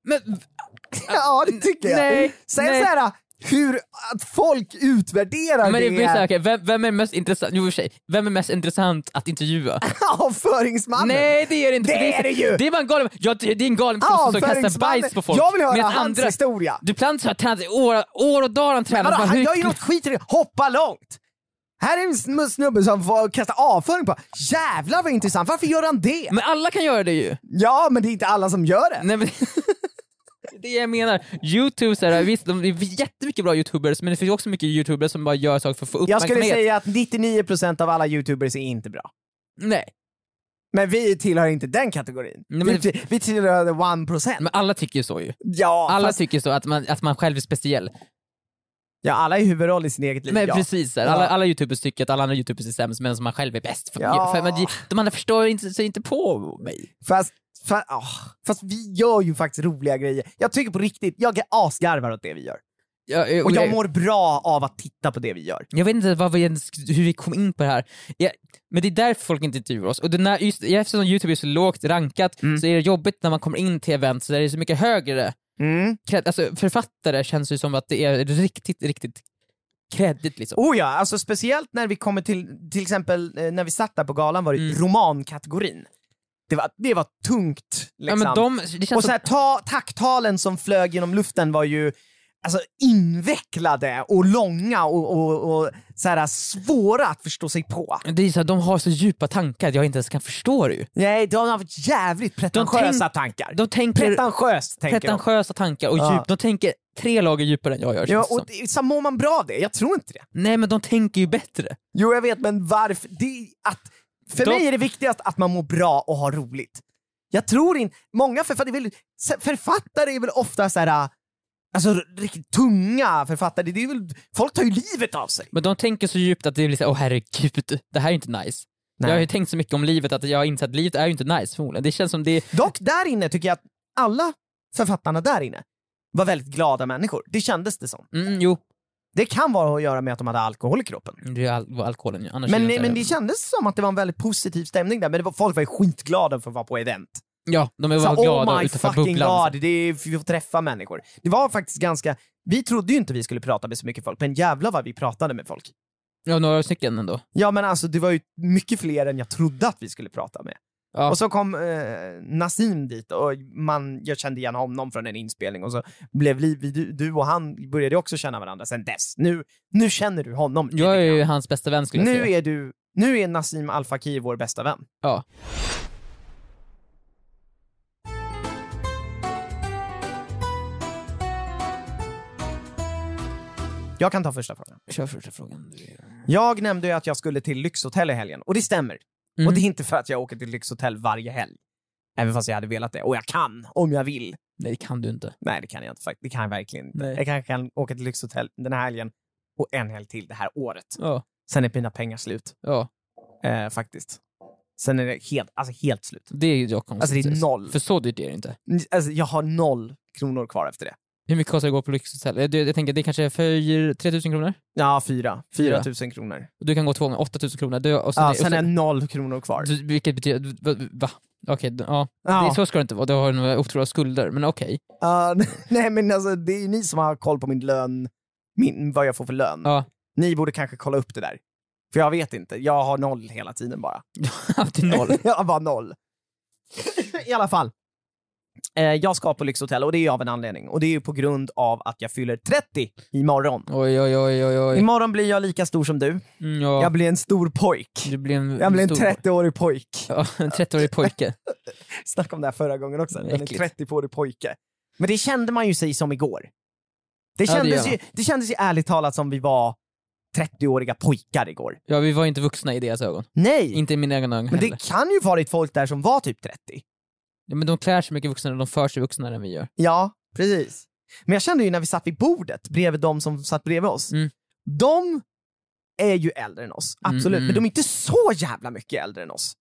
Speaker 2: Men
Speaker 3: Ja, det tycker jag.
Speaker 2: nej,
Speaker 3: Sen
Speaker 2: nej.
Speaker 3: så här, hur att folk utvärderar
Speaker 2: Men det blir
Speaker 3: det,
Speaker 2: såhär, okej, vem, vem är mest intressant, jo i och för sig, vem är mest intressant att intervjua?
Speaker 3: avföringsmannen.
Speaker 2: Nej det är det inte!
Speaker 3: Det
Speaker 2: för
Speaker 3: är det ju.
Speaker 2: Det är bara en galen, ja, det det är en galen person som kastar
Speaker 3: Avföringsmannen.
Speaker 2: bajs på folk.
Speaker 3: Jag vill höra
Speaker 2: medan
Speaker 3: hans historia.
Speaker 2: Duplantis har tränat i år, år och dagar han tränar.
Speaker 3: Vadå,
Speaker 2: Bara,
Speaker 3: han
Speaker 2: hur-
Speaker 3: gör ju något skit i det. Hoppa långt! Här är en sn- snubbe som får kasta avföring på. Jävlar vad intressant, varför gör han det?
Speaker 2: Men alla kan göra det ju!
Speaker 3: Ja, men det är inte alla som gör det.
Speaker 2: Nej, men, det är det jag menar. Youtube, så här, visst de det är jättemycket bra youtubers men det finns ju också mycket youtubers som bara gör saker för att få
Speaker 3: Jag skulle
Speaker 2: uppmärksamhet.
Speaker 3: säga att 99% av alla youtubers är inte bra.
Speaker 2: Nej,
Speaker 3: Men vi tillhör inte den kategorin.
Speaker 2: Nej,
Speaker 3: vi,
Speaker 2: men-
Speaker 3: till- vi tillhör the 1%.
Speaker 2: men alla tycker ju så ju.
Speaker 3: ja,
Speaker 2: Alla
Speaker 3: fast,
Speaker 2: tycker så, att man, att man själv är speciell.
Speaker 3: ja, alla är huvudroll i sin eget liv.
Speaker 2: Men
Speaker 3: ja.
Speaker 2: precis, så här. alla,
Speaker 3: Ja.
Speaker 2: alla youtubers tycker att alla andra youtubers är sämst medan man själv är bäst. För,
Speaker 3: Ja.
Speaker 2: för, men, de andra förstår inte, sig inte på mig.
Speaker 3: Fast, fa, ah, fast vi gör ju faktiskt roliga grejer. Jag tycker på riktigt, jag asgarvar åt det vi gör.
Speaker 2: Jag, jag,
Speaker 3: Och jag
Speaker 2: jag,
Speaker 3: mår bra av att titta på det vi gör.
Speaker 2: vet inte vad vi ens, hur vi kom in på det här. Jag, men det är därför folk inte intervjuar oss. Och det, när, just, eftersom youtube är så lågt rankat så är det jobbigt när man kommer in till event så där det är så mycket högre
Speaker 3: Mm.
Speaker 2: cred, alltså författare känns ju som att det är riktigt, riktigt kreddigt liksom.
Speaker 3: Oh ja, alltså speciellt när vi kommer till, till exempel eh, när vi satt där på galan var det
Speaker 2: Mm.
Speaker 3: romankategorin. Det var, det var tungt
Speaker 2: Ja,
Speaker 3: liksom.
Speaker 2: men de, det känns
Speaker 3: Och så här, ta, tacktalen som flög genom luften var ju alltså, invecklade och långa och, och, och så här, svåra att förstå sig på.
Speaker 2: som, det är så här, de har så djupa tankar att jag inte ens kan förstå det ju.
Speaker 3: Nej, de har haft jävligt pretentiösa tankar.
Speaker 2: De tänker
Speaker 3: Pretentiöst tänker de.
Speaker 2: pretentiösa tankar och
Speaker 3: Ja.
Speaker 2: djup, de tänker tre lager djupare än jag gör
Speaker 3: Ja,
Speaker 2: känns det
Speaker 3: och
Speaker 2: som.
Speaker 3: det, så mår man bra av det? Jag tror inte det.
Speaker 2: Nej men de tänker ju bättre.
Speaker 3: Jo, jag vet, men varför? Det är att, för
Speaker 2: De-
Speaker 3: mig är det viktigast att man mår bra och har roligt. Jag tror inte... Många författare, vill, författare är väl ofta så här... Alltså riktigt tunga författare, det är väl, folk tar ju livet av sig.
Speaker 2: Men de tänker så djupt att det blir såhär, åh herregud, det här är inte nice.
Speaker 3: Nej.
Speaker 2: Jag har ju tänkt så mycket om livet att jag har insett att livet är ju inte nice förmodligen. Det känns som det,
Speaker 3: Dock där inne tycker jag att alla författarna där inne var väldigt glada människor. Det kändes det som.
Speaker 2: mm, jo,
Speaker 3: Det kan vara att göra med att de hade alkohol i kroppen.
Speaker 2: det är al- alkoholen ju. Annars är
Speaker 3: Men,
Speaker 2: det inte-
Speaker 3: men det kändes som att det var en väldigt positiv stämning där, men det var, folk var ju skitglada för att vara på event.
Speaker 2: Ja, de var
Speaker 3: Så,
Speaker 2: glada
Speaker 3: oh my
Speaker 2: utanför
Speaker 3: fucking
Speaker 2: bubblan.
Speaker 3: god, det är, vi får träffa människor. Det var faktiskt ganska, vi trodde ju inte vi skulle prata med så mycket folk, men jävlar vad vi pratade med folk.
Speaker 2: Ja, några stycken ändå.
Speaker 3: Ja men alltså det var ju mycket fler än jag trodde att vi skulle prata med.
Speaker 2: Ja.
Speaker 3: Och så kom eh, Nassim dit och man, jag kände igen honom från en inspelning och så blev vi, vi- du, du och han började också känna varandra sen dess. Nu, nu känner du honom.
Speaker 2: Jag är
Speaker 3: lite
Speaker 2: ju
Speaker 3: grann.
Speaker 2: hans bästa vän skulle jag
Speaker 3: nu
Speaker 2: säga.
Speaker 3: är du, nu är Nassim Al Fakir vår bästa vän.
Speaker 2: Ja.
Speaker 3: Jag kan ta första frågan.
Speaker 2: Kör första frågan.
Speaker 3: Jag nämnde ju att jag skulle till Lyxhotell i helgen och det stämmer.
Speaker 2: Mm.
Speaker 3: Och det är inte för att jag åker till lyxhotell varje helg. Även fast jag hade velat det. Och jag kan, om jag vill.
Speaker 2: Nej, det kan du inte.
Speaker 3: Nej, det kan jag inte. fakt- Det kan jag verkligen inte.
Speaker 2: Nej.
Speaker 3: Jag kanske kan åka till lyxhotell den här helgen och en helg till det här året.
Speaker 2: Ja,
Speaker 3: Sen är mina pengar slut,
Speaker 2: ja.
Speaker 3: eh, faktiskt. Sen är det helt, alltså helt slut.
Speaker 2: Det är ju dock konstigt.
Speaker 3: Alltså det är noll.
Speaker 2: För så dyrt är det inte.
Speaker 3: N- Alltså, jag har noll kronor kvar efter det.
Speaker 2: Hur mycket kostar det att gå på lyxhotell? Eh, det- Jag tänker det kanske är för 3000 kronor?
Speaker 3: Ja, fyra. Fyra
Speaker 2: Fyra.
Speaker 3: tusen kronor.
Speaker 2: Du kan gå två gånger, 8000 kronor. Du, och sen,
Speaker 3: Ja,
Speaker 2: det- och
Speaker 3: sen är noll kronor kvar.
Speaker 2: du, vilket betyder... du- Va? va? Okej, d- ja.
Speaker 3: Ja.
Speaker 2: Det, så ska det inte vara. Du har några otroliga skulder, men okej.
Speaker 3: Ja, nej, men alltså, det är ju ni som har koll på min lön, min, vad jag får för lön.
Speaker 2: Ja.
Speaker 3: Ni borde kanske kolla upp det där. För jag vet inte, jag har noll hela tiden bara.
Speaker 2: Upp till noll.
Speaker 3: jag har bara noll. I alla fall. Eh, jag ska på lyxhotell och det är ju av en anledning. Och det är ju på grund av att jag fyller 30 imorgon.
Speaker 2: Oj, oj, oj, oj, oj.
Speaker 3: Imorgon blir jag lika stor som du.
Speaker 2: Mm, ja.
Speaker 3: Jag blir en stor pojk.
Speaker 2: Du blir en,
Speaker 3: Jag blir en
Speaker 2: stor-
Speaker 3: 30-årig pojk.
Speaker 2: Ja, en 30-årig pojke.
Speaker 3: Snackade om det här förra gången också. Jag är en
Speaker 2: Äckligt.
Speaker 3: 30-årig pojke. Men det kände man ju sig som igår. Det
Speaker 2: Ja, det
Speaker 3: kändes,
Speaker 2: gör
Speaker 3: ju, det kändes ju ärligt talat som vi var 30-åriga pojkar igår.
Speaker 2: Ja, vi var inte vuxna i deras ögon.
Speaker 3: Nej!
Speaker 2: Inte i mina egna ögon
Speaker 3: men
Speaker 2: heller.
Speaker 3: det kan ju varit folk där som var typ 30.
Speaker 2: Ja, men de klär sig mycket vuxnare och de för sig vuxnare än vi gör.
Speaker 3: Ja, precis. Men jag kände ju när vi satt vid bordet bredvid de som satt bredvid oss.
Speaker 2: Mm.
Speaker 3: De är ju äldre än oss, absolut.
Speaker 2: Mm, mm.
Speaker 3: Men de är inte så jävla mycket äldre än oss.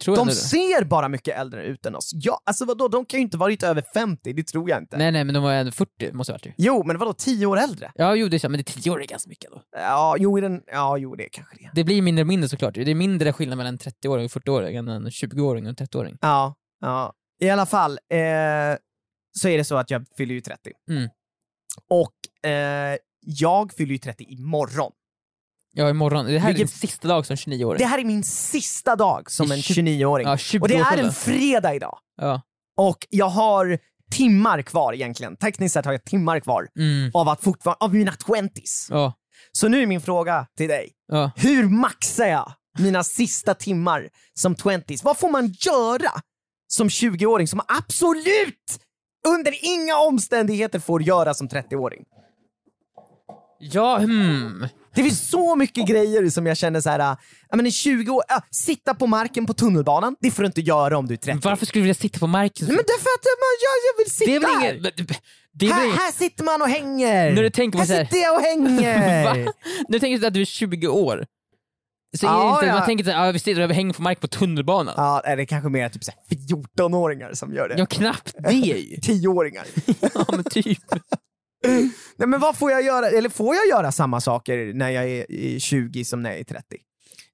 Speaker 2: Tror
Speaker 3: De
Speaker 2: jag det.
Speaker 3: ser bara mycket äldre ut än oss. Ja, alltså vadå, de kan ju inte varit över 50, det tror jag inte.
Speaker 2: Nej, nej, men de var ändå 40, måste ha varit ju.
Speaker 3: Jo, men vadå, 10 år äldre?
Speaker 2: Ja, jo, det är så, men det är 10 år är ganska mycket då.
Speaker 3: Ja, jo, i den, ja, jo det är kanske det.
Speaker 2: Det blir mindre och mindre såklart. Det är mindre skillnad mellan en 30-åring och 40-åring än en 20-åring och en 30-åring.
Speaker 3: Ja, ja. I alla fall, eh, så är det så att jag fyller ju 30.
Speaker 2: Mm.
Speaker 3: Och eh, jag fyller ju 30 imorgon.
Speaker 2: Ja, imorgon. Det här är din
Speaker 3: Vilket-
Speaker 2: sista dag som 29-åring.
Speaker 3: Det här är min sista dag som
Speaker 2: I
Speaker 3: en
Speaker 2: tjugo-
Speaker 3: 29-åring.
Speaker 2: Ja, 20
Speaker 3: Och det är en
Speaker 2: årsåldern.
Speaker 3: fredag idag.
Speaker 2: Ja.
Speaker 3: Och jag har timmar kvar egentligen. Tekniskt sett har jag timmar kvar
Speaker 2: Mm.
Speaker 3: av, att fortfar- av mina 20s.
Speaker 2: Ja.
Speaker 3: Så nu är min fråga till dig.
Speaker 2: Ja.
Speaker 3: Hur maxar jag mina sista timmar som 20s? Vad får man göra som 20-åring som absolut under inga omständigheter får göra som 30-åring?
Speaker 2: Ja, hmm.
Speaker 3: Det finns så mycket grejer som jag känner så här, äh, ja, men en 20 år, äh, sitta på marken på tunnelbanan, det får du inte göra om du är 30.
Speaker 2: Varför skulle du vilja sitta på marken?
Speaker 3: Nej, men därför att äh, man, jag, jag vill sitta
Speaker 2: Mm. det är väl
Speaker 3: här.
Speaker 2: inget... men- Det är väl
Speaker 3: här,
Speaker 2: inget...
Speaker 3: här sitter man och hänger.
Speaker 2: När du tänker på
Speaker 3: här
Speaker 2: så här-
Speaker 3: sitter jag och hänger.
Speaker 2: Va? Nu tänker du att du är 20 år. Så är
Speaker 3: Ja,
Speaker 2: det inte,
Speaker 3: ja.
Speaker 2: Man tänker att ah, vi sitter och hänger på mark på tunnelbanan.
Speaker 3: ja, det är kanske mer typ så här 14-åringar som gör det.
Speaker 2: Ja, knappt det ju.
Speaker 3: 10-åringar.
Speaker 2: ja, men typ.
Speaker 3: Nej, men vad får jag göra? Eller får jag göra samma saker när jag är i 20 som när jag är 30?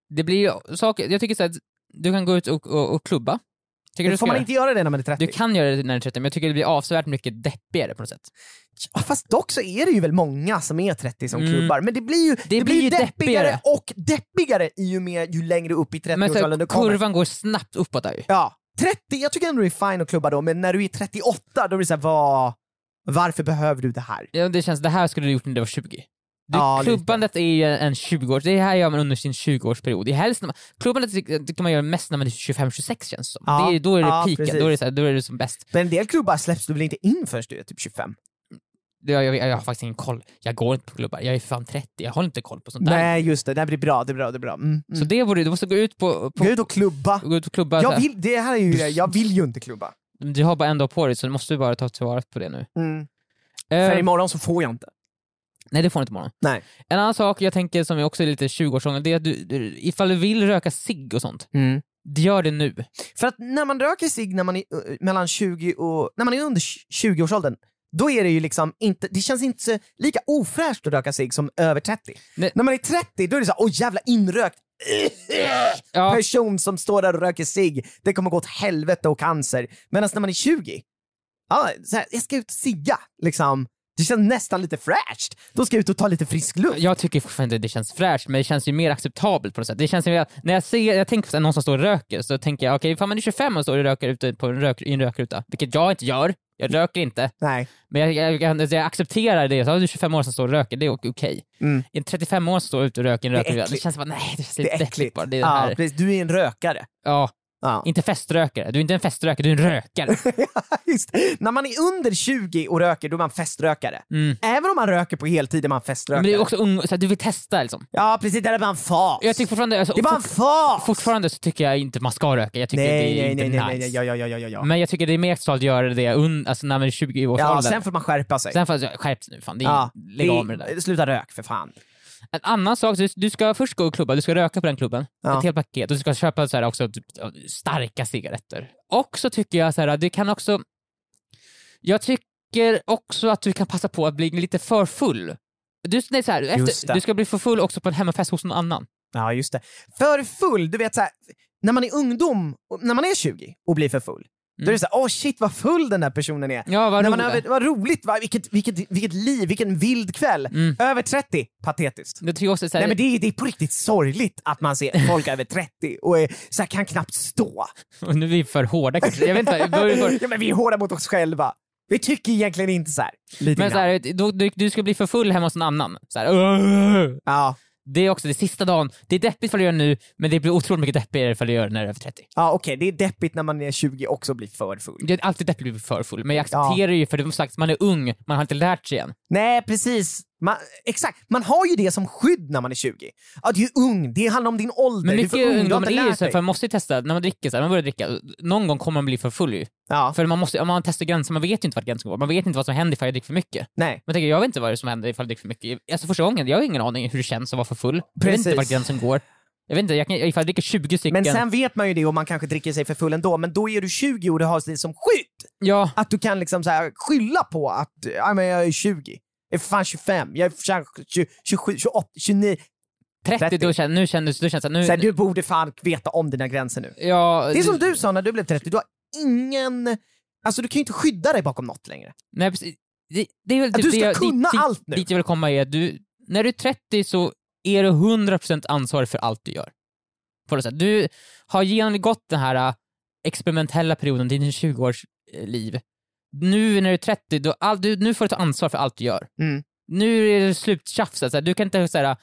Speaker 2: Det blir ju saker, jag tycker så att du kan gå ut och, och, och klubba. Tycker du
Speaker 3: Får
Speaker 2: ska
Speaker 3: man
Speaker 2: göra?
Speaker 3: inte göra det när man är 30?
Speaker 2: Du kan göra det när du är 30, men jag tycker det blir avsevärt mycket deppigare på något sätt.
Speaker 3: Ja, Fast dock så är det ju väl många som är 30 som
Speaker 2: Mm.
Speaker 3: klubbar, men det blir ju, det blir ju deppigare.
Speaker 2: deppigare.
Speaker 3: och deppigare i ju, mer, ju längre upp i
Speaker 2: Men så,
Speaker 3: 30-årsåldern du
Speaker 2: här,
Speaker 3: kommer.
Speaker 2: kurvan går snabbt uppåt där ju.
Speaker 3: Ja, 30, jag tycker ändå det är fine att klubba då, men när du är 38 då blir det såhär, vad, varför behöver du det här?
Speaker 2: Ja, det känns, det här skulle du gjort när du var 20. Du,
Speaker 3: Ja, lite.
Speaker 2: klubbandet är ju en 20 års det här gör man under sin 20-årsperiod. Det är helst när man, klubbandet det- det kan man göra mest när man är 25-26 känns det som.
Speaker 3: Ja,
Speaker 2: det är, då är det
Speaker 3: ja,
Speaker 2: peaken,
Speaker 3: precis.
Speaker 2: då är det, så här, då är det som bäst.
Speaker 3: Men en del klubbar släpps du väl inte in förrän du är typ 25?
Speaker 2: Det- Jag, jag, jag har faktiskt ingen koll. Jag går inte på klubbar, jag är för fan 30, jag har inte koll på sånt där.
Speaker 3: Nej just det, det här blir bra, det är bra, det är bra. Mm, mm.
Speaker 2: Så det borde du, måste gå ut på, på
Speaker 3: Gå ut och klubba.
Speaker 2: gå ut och klubba. så
Speaker 3: Jag
Speaker 2: här.
Speaker 3: vill, det här är ju det, jag vill ju inte klubba.
Speaker 2: Du har bara en dag på dig så du måste bara ta tillvara på det nu.
Speaker 3: Mm.
Speaker 2: Eh,
Speaker 3: För imorgon så får jag inte.
Speaker 2: nej det får du inte imorgon.
Speaker 3: Nej.
Speaker 2: En annan sak jag tänker som är också är lite 20-årsångel, det är att du, du, ifall du vill röka cigg och sånt, gör det nu.
Speaker 3: För att när man röker cigg när man är eh, mellan 20 och, när man är under 20-årsåldern, då är det ju liksom inte, det känns inte så- lika ofräscht att röka cigg som över 30.
Speaker 2: Nej.
Speaker 3: När man är 30, då är det så här, åh jävla inrökt,
Speaker 2: Ja.
Speaker 3: person som står där och röker sig det kommer gå åt helvete och cancer. Medan när man är 20, ja, så här, jag ska ut och sigga, liksom. Det känns nästan lite fräscht. Då ska jag ut och ta lite frisk luft.
Speaker 2: Jag tycker fortfarande det känns fräscht, men det känns ju mer acceptabelt på något sätt. Det känns ju mer att när jag ser, jag tänker på så här, någon som står och röker, så tänker jag okej, fan man är 25 och står och röker ute på en rök, i en rökruta, vilket jag inte gör. Jag röker inte,
Speaker 3: Nej.
Speaker 2: men jag, jag, jag, jag accepterar det. Så har du 25 år som står och röker, det är okej.
Speaker 3: Mm.
Speaker 2: En 35 år som står ute och röker i en
Speaker 3: är
Speaker 2: rökruta, det
Speaker 3: äckligt.
Speaker 2: känns bara nej, det känns
Speaker 3: Det
Speaker 2: lite
Speaker 3: är äckligt.
Speaker 2: bara. Det är det
Speaker 3: ja,
Speaker 2: här.
Speaker 3: precis. Du är en rökare.
Speaker 2: Ja,
Speaker 3: Ja.
Speaker 2: inte feströkare. Du är inte en feströkare, du är en rökare.
Speaker 3: Just. När man är under 20 och röker, då är man feströkare.
Speaker 2: Mm.
Speaker 3: Även om man röker på heltid är man feströkare.
Speaker 2: Men du är också ung, så här, du vill testa liksom.
Speaker 3: Ja, precis. Det där är bara en fas.
Speaker 2: Jag tycker fortfarande, alltså,
Speaker 3: Det är bara en fas!
Speaker 2: fortfarande så tycker jag inte man ska röka. Jag tycker
Speaker 3: nej,
Speaker 2: det är
Speaker 3: nej,
Speaker 2: inte
Speaker 3: nej, nej,
Speaker 2: nice.
Speaker 3: nej, nej, ja, ja, ja, ja, ja.
Speaker 2: Men jag tycker det är mer acceptabelt att göra det un- alltså när man är 20 års
Speaker 3: ja
Speaker 2: ålder.
Speaker 3: sen får man skärpa sig.
Speaker 2: Sen får jag skärps nu fan, det är,
Speaker 3: ja,
Speaker 2: lägg av med det där.
Speaker 3: Sluta rök för fan.
Speaker 2: En annan sak, du- du ska först gå och klubba, du ska röka på den klubben.
Speaker 3: Ja.
Speaker 2: Ett helt paket. Och du ska köpa så här också typ, starka cigaretter. Och så tycker jag så här, du kan också... Jag tycker också att du kan passa på att bli lite för full. Du, nej, så här,
Speaker 3: Just det.
Speaker 2: efter, du ska bli för full också på en hemmafest hos någon annan.
Speaker 3: Ja, just det. För full, du vet så här, när man är ungdom, och- när man är 20 och blir för full, då är det så här, åh shit vad full den där personen är.
Speaker 2: Ja, Mm. vad roligt.
Speaker 3: när man är över, vad roligt, va? vilket, vilket, vilket liv, vilken vild kväll.
Speaker 2: Mm.
Speaker 3: Över 30, patetiskt.
Speaker 2: Jag tycker också så här,
Speaker 3: Nej men det är, det är på riktigt sorgligt att man ser folk över 30 och är, så här, kan knappt stå.
Speaker 2: Och nu är vi för hårda kanske. Jag vet inte, börjar vi för...
Speaker 3: Ja, men vi är hårda mot oss själva. Vi tycker egentligen inte så här. Lite
Speaker 2: Men så
Speaker 3: grann.
Speaker 2: här, du, du, du ska bli för full hemma hos någon annan. Så här, "Åh!"
Speaker 3: Ja,
Speaker 2: det är också det sista dagen. Det är deppigt för du gör det nu, men det blir otroligt mycket deppigare ifall du gör det när du är över 30.
Speaker 3: ja okej, det är deppigt när man är 20 också blir för full.
Speaker 2: Det är alltid deppigt att bli för full, men jag accepterar ju för det som sagt, man är ung, man har inte lärt sig än.
Speaker 3: Nej, precis. Man, exakt, man har ju det som skydd när man är 20. Ja, du är ung, det handlar om din ålder.
Speaker 2: Men
Speaker 3: du är för
Speaker 2: mycket
Speaker 3: ung, du har
Speaker 2: ungdomar
Speaker 3: inte
Speaker 2: är ju
Speaker 3: lärt
Speaker 2: så, här,
Speaker 3: dig.
Speaker 2: för man måste ju testa, när man dricker, så här, man börjar dricka, någon gång kommer man bli för full ju.
Speaker 3: Ja,
Speaker 2: För man, måste, om man testar gränser, man vet ju inte vart gränsen går, man vet inte vad som händer ifall jag dricker för mycket.
Speaker 3: nej.
Speaker 2: Man tänker, jag vet inte vad det är som händer ifall jag dricker för mycket. Alltså första gången, jag har ingen aning hur det känns att vara för full. Jag vet inte
Speaker 3: Precis.
Speaker 2: vart gränsen går. Jag vet inte, jag kan, ifall jag dricker 20 stycken.
Speaker 3: Men sen vet man ju det och man kanske dricker sig för full ändå, men då är du 20 och du har det som skydd.
Speaker 2: ja,
Speaker 3: Att du kan liksom så här skylla på att ja, men jag är 20. Jag är för fan 25, jag är för fan 20, 27, 28, 29.
Speaker 2: 30,
Speaker 3: 30.
Speaker 2: Då känner, nu känner du känns att nu...
Speaker 3: Så här, du borde fan veta om dina gränser nu.
Speaker 2: ja,
Speaker 3: Det är som du sa när du blev 30, du har ingen... Alltså du kan ju inte skydda dig bakom något längre.
Speaker 2: Nej, precis. Det, det är väl
Speaker 3: Att
Speaker 2: typ
Speaker 3: du
Speaker 2: det
Speaker 3: ska
Speaker 2: jag-
Speaker 3: kunna
Speaker 2: dit,
Speaker 3: allt nu.
Speaker 2: Dit jag vill komma är att du, när du är 30 så är du 100% ansvarig för allt du gör. På något sätt. Du har genomgått den här äh, experimentella perioden, din 20-års eh, liv. Nu när du är 30, då, all, du, nu får du ta ansvar för allt du gör.
Speaker 3: Mm.
Speaker 2: Nu är det sluttjafset, så här. du kan inte såhär,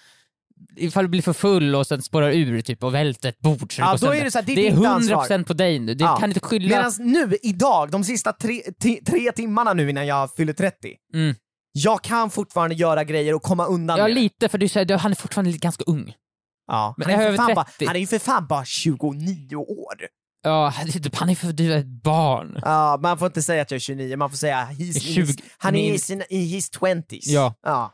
Speaker 2: ifall du blir för full och sen spårar ur typ, och välter ett bord så går
Speaker 3: Ja, då är
Speaker 2: sönder.
Speaker 3: det så här, det är
Speaker 2: det är
Speaker 3: ditt ansvar.
Speaker 2: 100% på dig nu, du
Speaker 3: Ja.
Speaker 2: kan inte skylla...
Speaker 3: Medan nu, idag, de sista tre, ti- tre timmarna nu innan jag fyller 30,
Speaker 2: Mm.
Speaker 3: jag kan fortfarande göra grejer och komma undan
Speaker 2: Ja
Speaker 3: med det.
Speaker 2: lite, för du säger, han är fortfarande ganska ung.
Speaker 3: ja.
Speaker 2: men
Speaker 3: han, är
Speaker 2: över
Speaker 3: för fan
Speaker 2: 30.
Speaker 3: bara, han är ju för fan bara 29 år.
Speaker 2: Ja, det är typ- han är för du är ett barn.
Speaker 3: Ja, man får inte säga att jag är 29, man får säga he's
Speaker 2: 20.
Speaker 3: in his, han är
Speaker 2: Min-
Speaker 3: i, sina, i his 20s.
Speaker 2: Ja.
Speaker 3: Ja.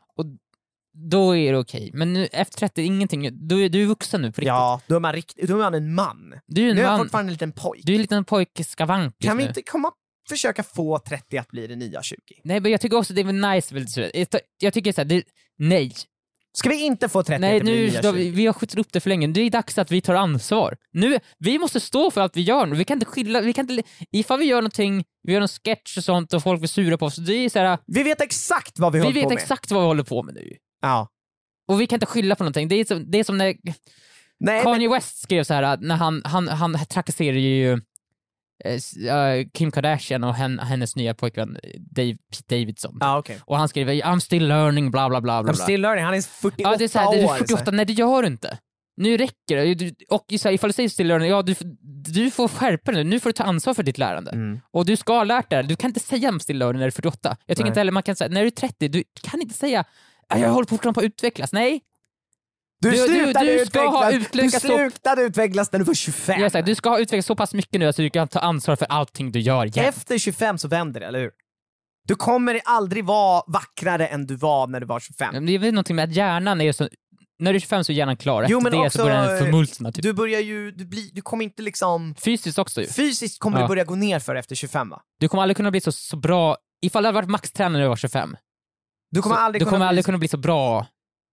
Speaker 2: Då är det okej. Men nu, efter 30, ingenting. Du, är- du är vuxen nu på riktigt.
Speaker 3: ja, då är man, rikt, då är man en man.
Speaker 2: Du är
Speaker 3: Nu
Speaker 2: en
Speaker 3: är jag
Speaker 2: man.
Speaker 3: fortfarande en liten pojk.
Speaker 2: Du är en liten pojkskavank just
Speaker 3: kan vi
Speaker 2: nu.
Speaker 3: inte komma försöka få 30 att bli det nya 20?
Speaker 2: Nej men jag tycker också det är väl nice. väl, så- jag t- Jag tycker såhär, det- nej.
Speaker 3: Ska vi inte få 30
Speaker 2: Nej
Speaker 3: att bli
Speaker 2: nu,
Speaker 3: det nya
Speaker 2: då,
Speaker 3: 20?
Speaker 2: vi, vi har skjutit upp det för länge. Det är dags att vi tar ansvar. Nu, vi måste stå för allt vi gör nu. Vi kan inte skilja, vi kan inte, ifall vi gör någonting, vi gör en sketch och sånt och folk blir sura på oss. Det är så här,
Speaker 3: Vi vet exakt vad vi,
Speaker 2: vi
Speaker 3: håller på
Speaker 2: vet
Speaker 3: med.
Speaker 2: exakt vad vi håller på med nu.
Speaker 3: Ja.
Speaker 2: Och vi kan inte skylla på någonting. Det är som, det är som när
Speaker 3: Nej, men,
Speaker 2: Kanye West skrev så här att när han, han, han trakasserar ju eh, s- eh, Kim Kardashian och hen, hennes nya pojkvän eh, Dave, Pete Davidson.
Speaker 3: ja, okej.
Speaker 2: Och han skriver I'm still learning bla bla bla. bla,
Speaker 3: I'm
Speaker 2: bla.
Speaker 3: still learning, han är 48
Speaker 2: ja, det är så här, du
Speaker 3: år.
Speaker 2: är
Speaker 3: så här.
Speaker 2: 48, nej det gör du inte. Nu räcker det. Du- Och så här, ifall du säger still learning, ja du, f- du får skärpa dig nu. Nu får du ta ansvar för ditt lärande.
Speaker 3: Mm.
Speaker 2: Och du ska ha lärt dig. Du kan inte säga I'm still learning när du är 48. Jag tycker
Speaker 3: Nej.
Speaker 2: inte heller man kan säga, när du är 30, du kan inte säga "Ah, jag håller fortfarande på att utvecklas. Nej,
Speaker 3: Du,
Speaker 2: Du- du-
Speaker 3: slutade
Speaker 2: du ska ha
Speaker 3: utvecklas, du
Speaker 2: utvecklat så-
Speaker 3: slutade utvecklas när du var 25.
Speaker 2: jag säger, du ska ha utvecklats så pass mycket nu att du kan ta ansvar för allting du gör. igen.
Speaker 3: Efter 25 så vänder det, eller hur? Du kommer aldrig vara vackrare än du var när du var 25.
Speaker 2: Ja, men Det är väl någonting med att hjärnan är så... När du är 25 så är hjärnan klar,
Speaker 3: Jo,
Speaker 2: efter
Speaker 3: men
Speaker 2: det
Speaker 3: också,
Speaker 2: så börjar den
Speaker 3: eh,
Speaker 2: förmultna. Typ.
Speaker 3: Du börjar ju, du, blir, du kommer inte liksom...
Speaker 2: Fysiskt också ju.
Speaker 3: Fysiskt kommer
Speaker 2: Ja.
Speaker 3: du börja gå ner för efter 25 va?
Speaker 2: Du kommer aldrig kunna bli så, så bra... Ifall du hade varit maxtränare när du var 25,
Speaker 3: Du kommer aldrig
Speaker 2: du
Speaker 3: kunna
Speaker 2: kommer
Speaker 3: bli liksom-
Speaker 2: aldrig kunna bli så bra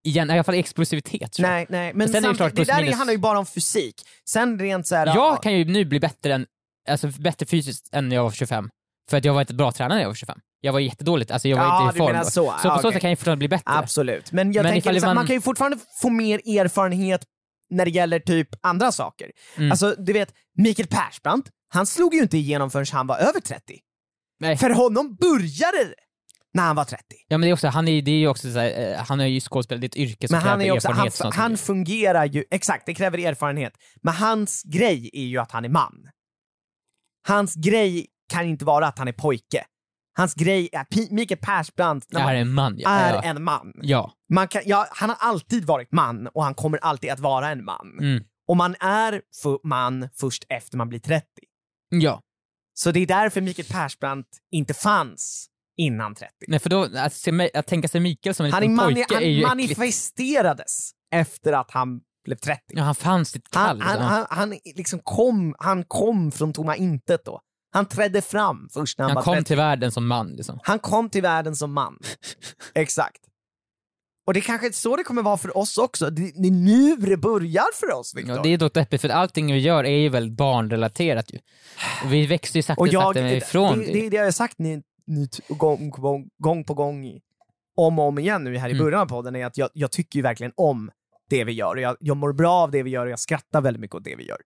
Speaker 2: igen, i alla fall explosivitet. tror jag.
Speaker 3: Nej, nej. Men
Speaker 2: Sen är det
Speaker 3: samtidigt-
Speaker 2: klart
Speaker 3: det,
Speaker 2: plus
Speaker 3: där
Speaker 2: minus.
Speaker 3: handlar ju bara om fysik. Sen rent så här, ja,
Speaker 2: Jag kan ju nu bli bättre, än, alltså, bättre fysiskt än när jag var 25. För att jag var inte bra tränare när jag var 25. Jag var jättedåligt, alltså jag var
Speaker 3: Ja,
Speaker 2: inte
Speaker 3: du
Speaker 2: i form.
Speaker 3: menar
Speaker 2: då.
Speaker 3: så. Ah,
Speaker 2: på
Speaker 3: Ja,
Speaker 2: så
Speaker 3: okej.
Speaker 2: sätt kan jag ju fortfarande bli bättre.
Speaker 3: absolut. Men jag
Speaker 2: Men
Speaker 3: tänker
Speaker 2: ifall
Speaker 3: liksom, man...
Speaker 2: man-
Speaker 3: kan ju fortfarande få mer erfarenhet när det gäller typ andra saker.
Speaker 2: Mm.
Speaker 3: Alltså, du vet, Mikael Persbrandt, han slog ju inte igenom förrän han var över 30.
Speaker 2: Nej.
Speaker 3: För honom började det när han var 30.
Speaker 2: Ja men det är också, han är, det är ju också så här, eh, han är ju skådespelare, det är ett yrke som
Speaker 3: Men han,
Speaker 2: kräver
Speaker 3: är ju också, han,
Speaker 2: erfarenhet. och sånt.
Speaker 3: han fungerar ju, exakt, det kräver erfarenhet. Men hans grej är ju att han är man. Hans grej kan inte vara att han är pojke. Hans grej är, P- Mikael Persbrandt när
Speaker 2: Jag är
Speaker 3: man
Speaker 2: en man. Ja.
Speaker 3: Ah, är
Speaker 2: ja.
Speaker 3: en man.
Speaker 2: ja.
Speaker 3: Man kan, ja, han har alltid varit man och han kommer alltid att vara en man.
Speaker 2: Mm.
Speaker 3: Och man är fu- man först efter man blir 30.
Speaker 2: ja.
Speaker 3: Så det är därför Mikael Persbrandt inte fanns innan 30.
Speaker 2: Nej för då, att, se, mig- att tänka sig Mikael som en
Speaker 3: Han, är
Speaker 2: liten
Speaker 3: mani-
Speaker 2: pojke
Speaker 3: han
Speaker 2: är ju äckligt.
Speaker 3: manifesterades efter att han blev 30.
Speaker 2: Ja, han fanns i ett kall.
Speaker 3: Han, han,
Speaker 2: liksom.
Speaker 3: han, han, liksom kom, han kom från tomma intet då. Han trädde fram först när han,
Speaker 2: han
Speaker 3: var
Speaker 2: kom
Speaker 3: 30.
Speaker 2: till världen som man liksom.
Speaker 3: Han kom till världen som man. Exakt. Och det är kanske är så det kommer vara för oss också. Det, det är nu det börjar för oss, Viktor.
Speaker 2: Ja, det är dock deppigt för allting vi gör är ju väldigt barnrelaterat ju. Och vi växer ju sakta
Speaker 3: Och jag,
Speaker 2: sakta ifrån
Speaker 3: det, det, det har jag sagt nu, nu, t- gång, på gång, gång på gång i- om och om igen nu här i
Speaker 2: Mm.
Speaker 3: början av podden är att jag, jag tycker ju verkligen om det vi gör. Och Jag, jag mår bra av det vi gör och jag skrattar väldigt mycket åt det vi gör.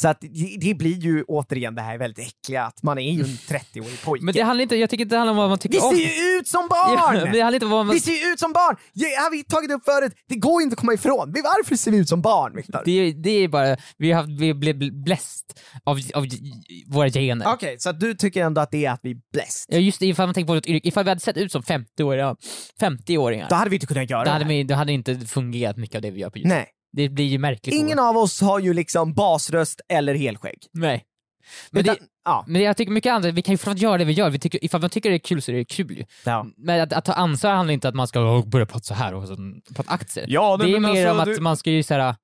Speaker 3: Så att det, det blir ju återigen det här väldigt äckliga att man är ju en 30-årig pojke.
Speaker 2: Men det handlar inte, jag tycker inte det handlar om vad man tycker
Speaker 3: vi
Speaker 2: om.
Speaker 3: ser ju ut som
Speaker 2: Ja,
Speaker 3: barn!
Speaker 2: men det handlar inte om vad man...
Speaker 3: Vi ser ju ut som barn! Det har vi tagit upp förut, det går inte att komma ifrån. Vi- Varför ser vi ut som barn, Viktor?
Speaker 2: Det, är- det är bara, vi har haft- vi blev bläst av, av våra gener.
Speaker 3: Okej, så att du tycker ändå att det är att vi är bläst?
Speaker 2: Ja just det, ifall man tänker på vårt yrke, ifall vi hade sett ut som 50-åringar, 50-åringar,
Speaker 3: Då hade vi inte kunnat göra
Speaker 2: då
Speaker 3: det
Speaker 2: hade,
Speaker 3: här.
Speaker 2: vi, då hade inte fungerat mycket av det vi gör på YouTube.
Speaker 3: Nej.
Speaker 2: Det blir ju märkligt.
Speaker 3: Ingen av oss har ju liksom basröst eller helskägg.
Speaker 2: Nej. Men,
Speaker 3: Utan-
Speaker 2: det,
Speaker 3: ja.
Speaker 2: men jag tycker mycket annat, vi kan ju fortfarande göra det vi gör, vi tycker, ifall man tycker det är kul så är det kul ju.
Speaker 3: Ja.
Speaker 2: Men att, att ta ansvar handlar inte om att man ska "Åh, börja prata så här och så, prata aktier.
Speaker 3: Ja, alltså,
Speaker 2: det är mer om att man ska ju såhär,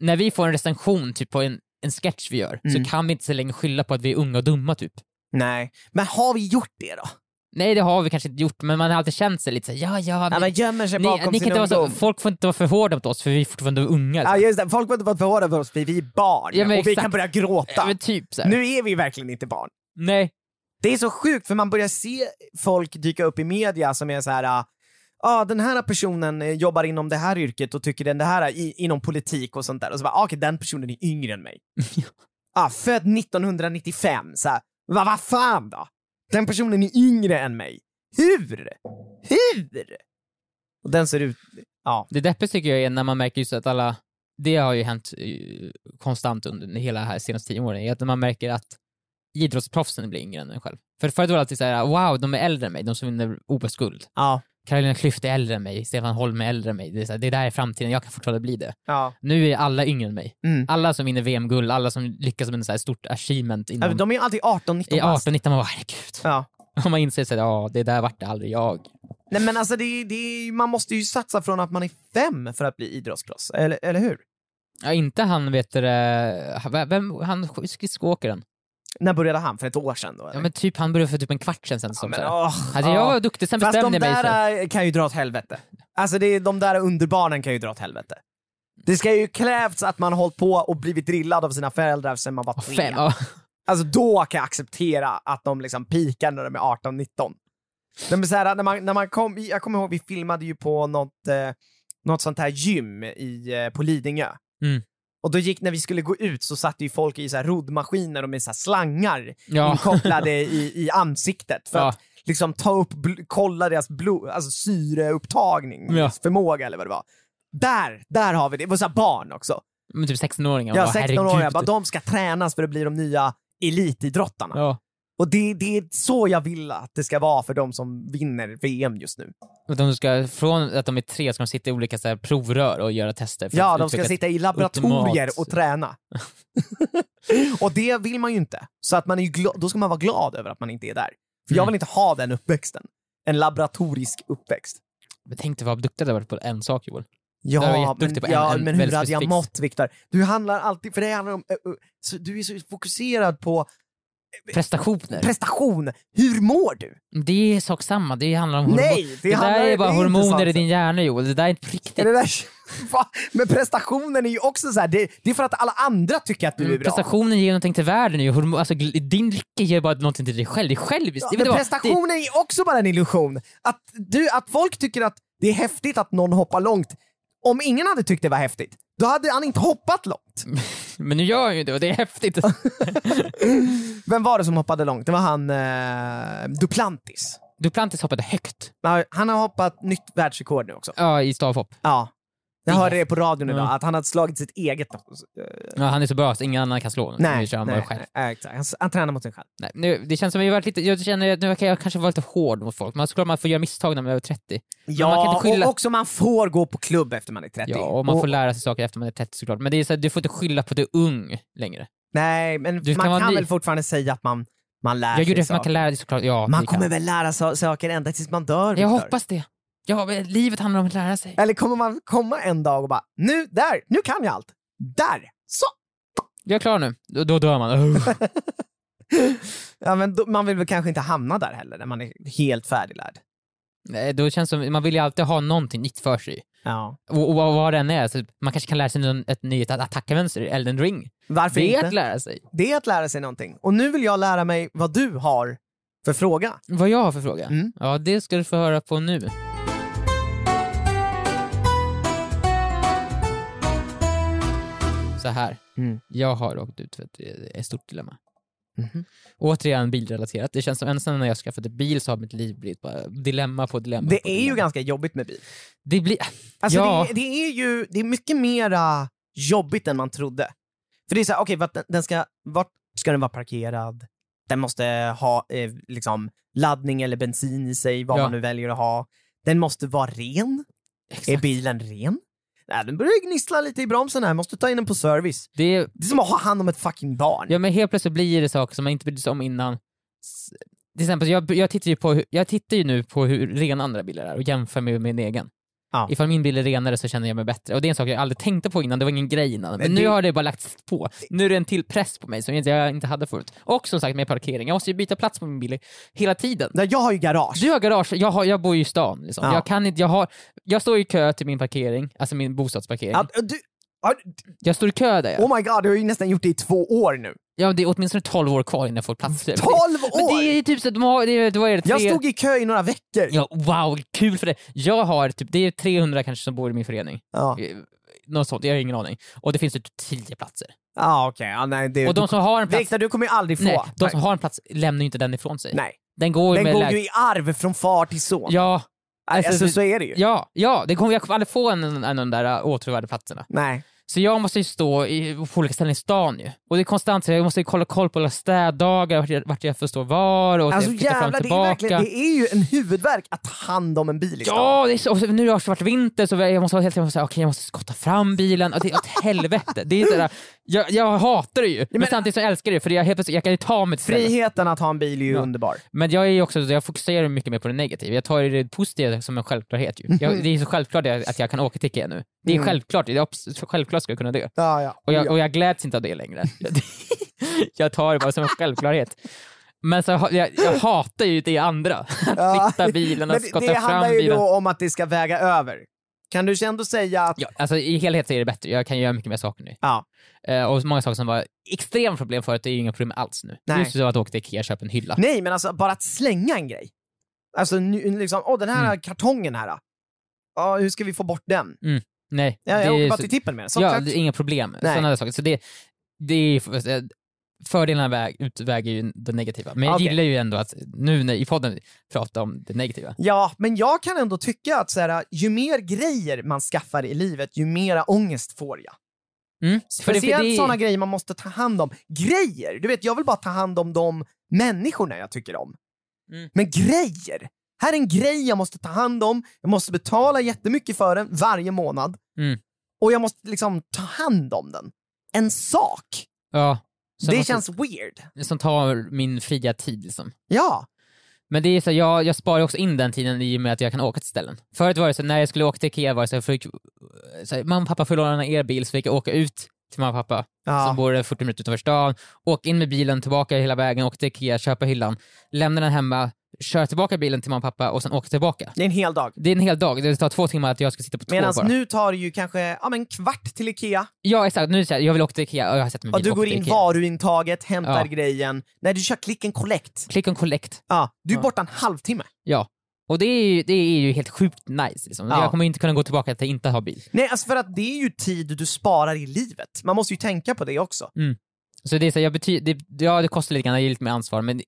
Speaker 2: när vi får en recension typ på en, en sketch vi gör,
Speaker 3: Mm.
Speaker 2: så kan vi inte så länge skylla på att vi är unga och dumma typ.
Speaker 3: Nej, men har vi gjort det då?
Speaker 2: Nej det har vi kanske inte gjort, men man har alltid känt sig lite såhär, ja ja,
Speaker 3: Ja,
Speaker 2: men
Speaker 3: man gömmer sig
Speaker 2: ni,
Speaker 3: bakom
Speaker 2: ni kan
Speaker 3: sin
Speaker 2: inte vara så,
Speaker 3: ungdom.
Speaker 2: folk får inte vara för hårda mot oss för vi är fortfarande unga.
Speaker 3: Ja,
Speaker 2: liksom.
Speaker 3: just det. Folk har inte varit för hårda för oss, vi vi är barn.
Speaker 2: Ja,
Speaker 3: och
Speaker 2: men
Speaker 3: vi
Speaker 2: exakt.
Speaker 3: kan börja gråta.
Speaker 2: Ja, men typ såhär.
Speaker 3: Nu är vi verkligen inte barn.
Speaker 2: Nej.
Speaker 3: Det är så sjukt för man börjar se folk dyka upp i media som är så här ah, ah, den här personen eh, jobbar inom det här yrket och tycker den det här i, inom politik och sånt där. Och så bara, ah, okej den personen är yngre än mig. ah, född 1995, så här, vad va fan då? Den personen är yngre än mig. Hur? Hur? Och den ser ut... Ja.
Speaker 2: Det deppiga tycker jag är när man märker just att alla, det har ju hänt eh, konstant under hela här senaste tio åren, är att man märker att idrottsproffsen blir yngre än en själv. För förut var det alltid såhär, wow de är äldre än mig, de som vinner OS-guld.
Speaker 3: Ja.
Speaker 2: Carolina Klüft är äldre än mig, Stefan Holm är äldre än mig. Det är, så här, det där är framtiden, jag kan fortfarande bli det.
Speaker 3: ja.
Speaker 2: Nu är alla yngre än mig.
Speaker 3: Mm.
Speaker 2: Alla som vinner VM-guld, alla som lyckas med ett så här stort achievement
Speaker 3: Ja,
Speaker 2: inom...
Speaker 3: men De är ju alltid 18-19
Speaker 2: I
Speaker 3: bast.
Speaker 2: 18-19, man bara herregud.
Speaker 3: Ja.
Speaker 2: Och man inser såhär, ja det där vart det aldrig jag.
Speaker 3: Nej men alltså det, är- det, är- man måste ju satsa från att man är fem för att bli idrottsproffs, eller, eller hur?
Speaker 2: Ja, inte han vet du det, vem- vem, han skridskoåkaren.
Speaker 3: När började han? För ett år sedan då? eller?
Speaker 2: Ja men typ, han började för typ en kvart sen. sen
Speaker 3: Ja,
Speaker 2: som
Speaker 3: men,
Speaker 2: så här.
Speaker 3: åh,
Speaker 2: alltså
Speaker 3: ja.
Speaker 2: jag var duktig, sen
Speaker 3: Fast
Speaker 2: bestämde
Speaker 3: de
Speaker 2: jag mig. för-
Speaker 3: där eh, kan ju dra åt helvete. Alltså det är, de där underbarnen kan ju dra åt helvete. Det ska ju krävts att man har hållit på och blivit drillad av sina föräldrar sen man var tre.
Speaker 2: Fem, ja.
Speaker 3: Alltså då kan jag acceptera att de liksom pikar när de är 18-19. De är så här, när man, när man kom, jag kommer ihåg vi filmade ju på något, eh, något sånt här gym i, eh, på Lidingö.
Speaker 2: Mm.
Speaker 3: Och då gick, när vi skulle gå ut så satt ju folk i så här roddmaskiner och med så här slangar
Speaker 2: Ja.
Speaker 3: inkopplade i, i ansiktet för
Speaker 2: Ja.
Speaker 3: att liksom ta upp, bl- kolla deras blod, alltså syreupptagning,
Speaker 2: Ja.
Speaker 3: deras förmåga eller vad det var. Där, där har vi det. Det var så här barn också.
Speaker 2: Men typ 16-åringar. bara,
Speaker 3: Jag har 16 år, jag
Speaker 2: herregud. Typ.
Speaker 3: bara, de ska tränas för att bli de nya elitidrottarna.
Speaker 2: Ja.
Speaker 3: Och det, det är så jag vill att det ska vara för de som vinner VM just nu.
Speaker 2: Och de ska, från att de är tre ska de sitta i olika så här, provrör och göra tester. för
Speaker 3: Ja,
Speaker 2: att
Speaker 3: de ska
Speaker 2: utveckla-
Speaker 3: sitta i laboratorier
Speaker 2: ultimat-
Speaker 3: och träna. och det vill man ju inte. Så att man är ju gla- då ska man vara glad över att man inte är där. För jag
Speaker 2: Mm.
Speaker 3: vill inte ha den uppväxten. En laboratorisk uppväxt.
Speaker 2: Men tänk dig vad duktig du hade varit på en sak Joel. Där var jag
Speaker 3: Ja, men,
Speaker 2: jätteduktig på en-
Speaker 3: ja,
Speaker 2: en
Speaker 3: men hur
Speaker 2: väldigt
Speaker 3: hade jag
Speaker 2: specifik-
Speaker 3: mått Viktor? Du handlar alltid, för det handlar om, ö, ö, så du är så fokuserad på
Speaker 2: prestationer.
Speaker 3: prestation. Hur mår du?
Speaker 2: det är sak samma, det handlar om hormoner.
Speaker 3: Nej,
Speaker 2: det,
Speaker 3: det
Speaker 2: där
Speaker 3: handlar-
Speaker 2: är bara
Speaker 3: det är inte
Speaker 2: hormoner
Speaker 3: sant.
Speaker 2: i din hjärna Joel, det där är inte på
Speaker 3: Är
Speaker 2: riktigt.
Speaker 3: det där... Va? Men prestationen är ju också så här. Det, det är för att alla andra tycker att
Speaker 2: Mm,
Speaker 3: du är bra.
Speaker 2: Prestationen ger någonting till världen ju, hormon, alltså, gl- din lycka ger bara någonting till dig själv, det är själviskt. Det-
Speaker 3: Men
Speaker 2: det var-
Speaker 3: prestationen är ju också bara en illusion. Att, du, att folk tycker att det är häftigt att någon hoppar långt. Om ingen hade tyckt det var häftigt, då hade han inte hoppat långt.
Speaker 2: det, men nu gör han ju det och det är häftigt.
Speaker 3: Vem var det som hoppade långt? Det var han eh, Duplantis.
Speaker 2: Duplantis hoppade högt
Speaker 3: Nej, Han har hoppat nytt världsrekord nu också.
Speaker 2: ja, i stavhopp.
Speaker 3: Ja. Jag
Speaker 2: Det är
Speaker 3: hörde det på radion idag,
Speaker 2: Ja.
Speaker 3: att han hade slagit sitt eget... eh,
Speaker 2: Ja, han är så bra så ingen annan kan slå honom. Nu
Speaker 3: Nej,
Speaker 2: kör han bara
Speaker 3: nej,
Speaker 2: själv.
Speaker 3: nej, exakt. Han, han tränar mot sig själv.
Speaker 2: Nej, nu, det känns som att jag, varit lite, jag känner att nu verkar jag kanske vara lite hård mot folk, men såklart man får göra misstag när man är över 30.
Speaker 3: Ja,
Speaker 2: man kan inte skylla-
Speaker 3: och också man får gå på klubb efter man är 30.
Speaker 2: Ja, och man får lära sig saker efter man är 30 såklart. Men det är så här, du får inte skylla på att du är ung
Speaker 3: Äh,
Speaker 2: längre.
Speaker 3: Nej, men
Speaker 2: Du kan
Speaker 3: man
Speaker 2: vara
Speaker 3: kan
Speaker 2: ny.
Speaker 3: väl fortfarande säga att man, man lär
Speaker 2: Jag
Speaker 3: sig
Speaker 2: gjorde det för att man
Speaker 3: saker.
Speaker 2: kan lära dig såklart. Ja,
Speaker 3: Man
Speaker 2: det kan.
Speaker 3: kommer väl lära sig saker ända tills man dör?
Speaker 2: Jag
Speaker 3: Viktor?
Speaker 2: hoppas det. Ja, men livet handlar om att lära sig.
Speaker 3: Eller kommer man komma en dag och bara, nu, där, nu kan jag allt. Där! Så!
Speaker 2: Jag är klar nu. Då, då dör man. Oh. Uff.
Speaker 3: Ja, men då, man vill väl kanske inte hamna där heller, när man är helt färdiglärd.
Speaker 2: Nej, då känns det som, man vill ju alltid ha någonting nytt för sig.
Speaker 3: Ja.
Speaker 2: Och, och vad det än är, så man kanske kan lära sig någon, ett nytt att- attackvänster i Elden ring.
Speaker 3: Varför
Speaker 2: Det är
Speaker 3: inte?
Speaker 2: att lära sig.
Speaker 3: Det är att lära sig någonting. Och nu vill jag lära mig vad du har för fråga.
Speaker 2: Vad jag har för fråga?
Speaker 3: Mm.
Speaker 2: Ja, det ska du få höra på nu. Så här.
Speaker 3: Mm.
Speaker 2: Jag har råkat ut för ett, eh, ett stort dilemma.
Speaker 3: Mhm.
Speaker 2: Återigen bilrelaterat. Det känns som ensam när jag skaffade bil så har mitt liv blivit bara dilemma på dilemma.
Speaker 3: Det
Speaker 2: på
Speaker 3: är ju
Speaker 2: dilemma.
Speaker 3: ganska jobbigt med bil.
Speaker 2: Det blir...
Speaker 3: Alltså
Speaker 2: ja.
Speaker 3: det, det är ju det är mycket mera jobbigt än man trodde. För det är så här, okej, vart den- den ska, vart ska den vara parkerad? Den måste ha eh, liksom, laddning eller bensin i sig, vad
Speaker 2: Ja.
Speaker 3: man nu väljer att ha. Den måste vara ren. Är
Speaker 2: Exakt.
Speaker 3: bilen ren? Nej, den börjar gnissla lite i bromsen här, måste ta in den på service.
Speaker 2: Det är...
Speaker 3: Det är som att ha hand om ett fucking barn.
Speaker 2: Ja men helt plötsligt blir det saker som man inte brydde sig om innan. S- Till exempel, jag, jag, tittar ju på, hur- jag tittar ju nu på hur rena andra bilar är och jämför med min egen.
Speaker 3: Ja.
Speaker 2: Ifall min bil är renare så känner jag mig bättre. Och det är en sak jag aldrig tänkte på innan, det var ingen grej innan. Men,
Speaker 3: Men
Speaker 2: nu
Speaker 3: det-
Speaker 2: har det bara lagts på. Nu är det en till press på mig som jag inte- jag inte hade förut. Och som sagt med parkering, jag måste ju byta plats på min bil hela tiden.
Speaker 3: Ja, Jag har ju garage.
Speaker 2: Du har garage, jag, har, jag bor ju i stan. Liksom.
Speaker 3: Ja.
Speaker 2: Jag, kan inte, jag, har, jag står i kö till min parkering, alltså min bostadsparkering.
Speaker 3: Ja, du, ja,
Speaker 2: Jag står i kö där. ja.
Speaker 3: oh my god, du har ju nästan gjort det i två år nu.
Speaker 2: Ja, det är åtminstone 12 år kvar innan jag får plats.
Speaker 3: Tolv
Speaker 2: Men
Speaker 3: år!
Speaker 2: det är ju typ så att de har, det är, vad är det, tre...
Speaker 3: Jag stod i kö i några veckor.
Speaker 2: Ja, wow, kul för det. Jag har typ, det är 300 kanske som bor i min förening.
Speaker 3: Ja,
Speaker 2: Eh, Något sånt, jag har ingen aning. Och det finns typ 10 platser.
Speaker 3: ja okej. Ja, nej, det,
Speaker 2: Och de som har en plats,
Speaker 3: Viktor, du kommer ju aldrig få.
Speaker 2: nej, de som har en plats lämnar ju inte den ifrån sig.
Speaker 3: Nej.
Speaker 2: Den går ju
Speaker 3: Den
Speaker 2: med
Speaker 3: går
Speaker 2: läg-
Speaker 3: ju i arv från far till son.
Speaker 2: Ja,
Speaker 3: alltså,
Speaker 2: alltså,
Speaker 3: så är det ju.
Speaker 2: ja, ja. Det kommer, jag kommer aldrig få en, en av de där äh, återvärda platserna.
Speaker 3: Nej.
Speaker 2: Så jag måste ju stå i, på olika ställen i stan ju. Och det är konstant, så jag måste ju kolla koll på alla städdagar, vart jag, vart jag förstår var och
Speaker 3: Alltså
Speaker 2: jag flyttar fram
Speaker 3: jävlar, det är, verkligen,
Speaker 2: tillbaka.
Speaker 3: det är ju en huvudvärk att ta hand om en bil i stan.
Speaker 2: Ja, det är så, och så, nu har det varit vinter så jag måste ha helt enkelt okay, jag måste skotta fram bilen. Och det är åt helvete. Det är sådär, jag, jag hatar det ju, men,
Speaker 3: men-
Speaker 2: samtidigt så älskar jag det för jag, helt plötsligt, jag kan ju ta mig till stället.
Speaker 3: Friheten att ha en bil är ju underbar.
Speaker 2: Men jag, är ju också, jag fokuserar mycket mer på det negativa. Jag tar ju det positiva som en självklarhet. Ju. Jag, det är så självklart att jag- att jag kan åka till Ikea nu. Det är
Speaker 3: Mhm. Mm.
Speaker 2: självklart, det är abs- självklart ska jag kunna det.
Speaker 3: Ja, ja.
Speaker 2: Och jag, och jag gläds inte av det längre. jag tar det bara som en självklarhet. Men så, ha- jag, jag hatar ju det andra.
Speaker 3: Ja.
Speaker 2: Att flytta bilen
Speaker 3: Men
Speaker 2: och
Speaker 3: det,
Speaker 2: skotta
Speaker 3: det
Speaker 2: fram
Speaker 3: handlar
Speaker 2: bilen.
Speaker 3: ju då om att det ska väga över. Kan du ändå säga att...
Speaker 2: Ja, alltså i helhet så är det bättre. Jag kan göra mycket mer saker nu.
Speaker 3: Ja.
Speaker 2: Eh, och många saker som var extrema problem förut, det är ju inga problem alls nu.
Speaker 3: Nej.
Speaker 2: Just så att åka till Ikea och köpa en hylla.
Speaker 3: Nej, men alltså bara att slänga en grej. Alltså nu, liksom, åh den
Speaker 2: Mm.
Speaker 3: här kartongen här. Ja, hur ska vi få bort den?
Speaker 2: Nej,
Speaker 3: Ja, jag
Speaker 2: det,
Speaker 3: åker
Speaker 2: är
Speaker 3: bara
Speaker 2: så-
Speaker 3: till tippen med den. Så
Speaker 2: ja,
Speaker 3: klart.
Speaker 2: det är inga problem.
Speaker 3: Nej.
Speaker 2: Sådana där saker. Så det, det är, ju- eh, fördelarna väg, utväger ju det negativa. Men jag
Speaker 3: Okej.
Speaker 2: gillar ju ändå att nu när, i podden prata om det negativa.
Speaker 3: Ja, men jag kan ändå tycka att så här, ju mer grejer man skaffar i livet, ju mera ångest får jag.
Speaker 2: Mm. För det,
Speaker 3: Speciellt
Speaker 2: för det,
Speaker 3: sådana grejer man måste ta hand om. Grejer! Du vet, jag vill bara ta hand om de människorna jag tycker om.
Speaker 2: Mm.
Speaker 3: Men grejer! Här är en grej jag måste ta hand om, jag måste betala jättemycket för den varje månad.
Speaker 2: Mm.
Speaker 3: Och jag måste liksom ta hand om den. En sak!
Speaker 2: ja, som,
Speaker 3: det
Speaker 2: måste-
Speaker 3: känns weird.
Speaker 2: som tar min fria tid liksom.
Speaker 3: Ja.
Speaker 2: Men det är så, jag, jag sparar också in den tiden i och med att jag kan åka till ställen. Förut var det så när jag skulle åka till Ikea var det så, jag fick, så här, mamma och pappa får låna er bil så fick jag åka ut till mamma och pappa
Speaker 1: Ja.
Speaker 2: som bor 40 minuter utanför stan. Åk in med bilen, tillbaka hela vägen, åk till Ikea, köpa hyllan, lämna den hemma, kör tillbaka bilen till mamma och pappa och sen åka tillbaka.
Speaker 3: Det är en hel dag.
Speaker 2: Det är en hel dag, det tar två timmar att jag ska sitta på tåg
Speaker 3: Medan
Speaker 2: bara.
Speaker 3: nu tar det ju kanske ja, men kvart till Ikea.
Speaker 2: Ja exakt, nu är det så här, jag vill åka till Ikea, och jag har sett min
Speaker 3: Ja,
Speaker 2: bil,
Speaker 3: du
Speaker 2: åk
Speaker 3: går
Speaker 2: till
Speaker 3: in
Speaker 2: Ikea.
Speaker 3: varuintaget, hämtar
Speaker 2: Ja.
Speaker 3: grejen. Nej, du kör klick and collect.
Speaker 2: Click on collect.
Speaker 3: Ja, du är
Speaker 2: Ja.
Speaker 3: borta en halvtimme.
Speaker 2: Ja. Och det är ju, det är ju helt sjukt nice. Liksom.
Speaker 3: Ja.
Speaker 2: Jag kommer inte kunna gå tillbaka till att inte ha bil.
Speaker 3: Nej, alltså för att det är ju tid du sparar i livet. Man måste ju tänka på det också.
Speaker 2: Så det är så här, jag bety- det, ja det kostar lite grann, jag ger lite mer ansvar men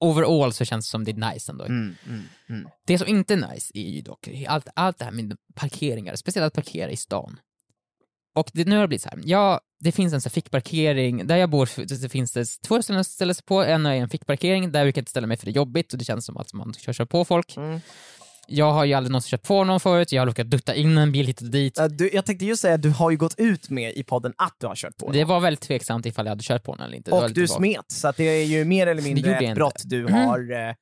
Speaker 2: overall så känns det som det är nice ändå.
Speaker 3: Mm.
Speaker 2: Det som inte är nice är ju dock allt, allt det här med parkeringar, speciellt att parkera i stan. Och det, nu har det blivit så här. Ja, det finns en så här fickparkering, där jag bor f- det finns det två ställen att ställa sig på, en är en fickparkering, där brukar jag inte ställa mig för det är jobbigt och det känns som att man kör, kör på folk.
Speaker 3: Mm.
Speaker 2: Jag har ju aldrig någonsin kört på någon förut, jag har råkat dutta in en bil hit och dit.
Speaker 3: Ja, Du, jag tänkte just säga att du har ju gått ut med i podden att du har kört på
Speaker 2: Det var väldigt tveksamt ifall jag hade kört på någon eller inte. Det var
Speaker 3: Och
Speaker 2: lite
Speaker 3: du
Speaker 2: vagt.
Speaker 3: smet, så att det är ju mer eller mindre
Speaker 2: gjorde jag
Speaker 3: ett
Speaker 2: inte. Mm.
Speaker 3: brott du har eh,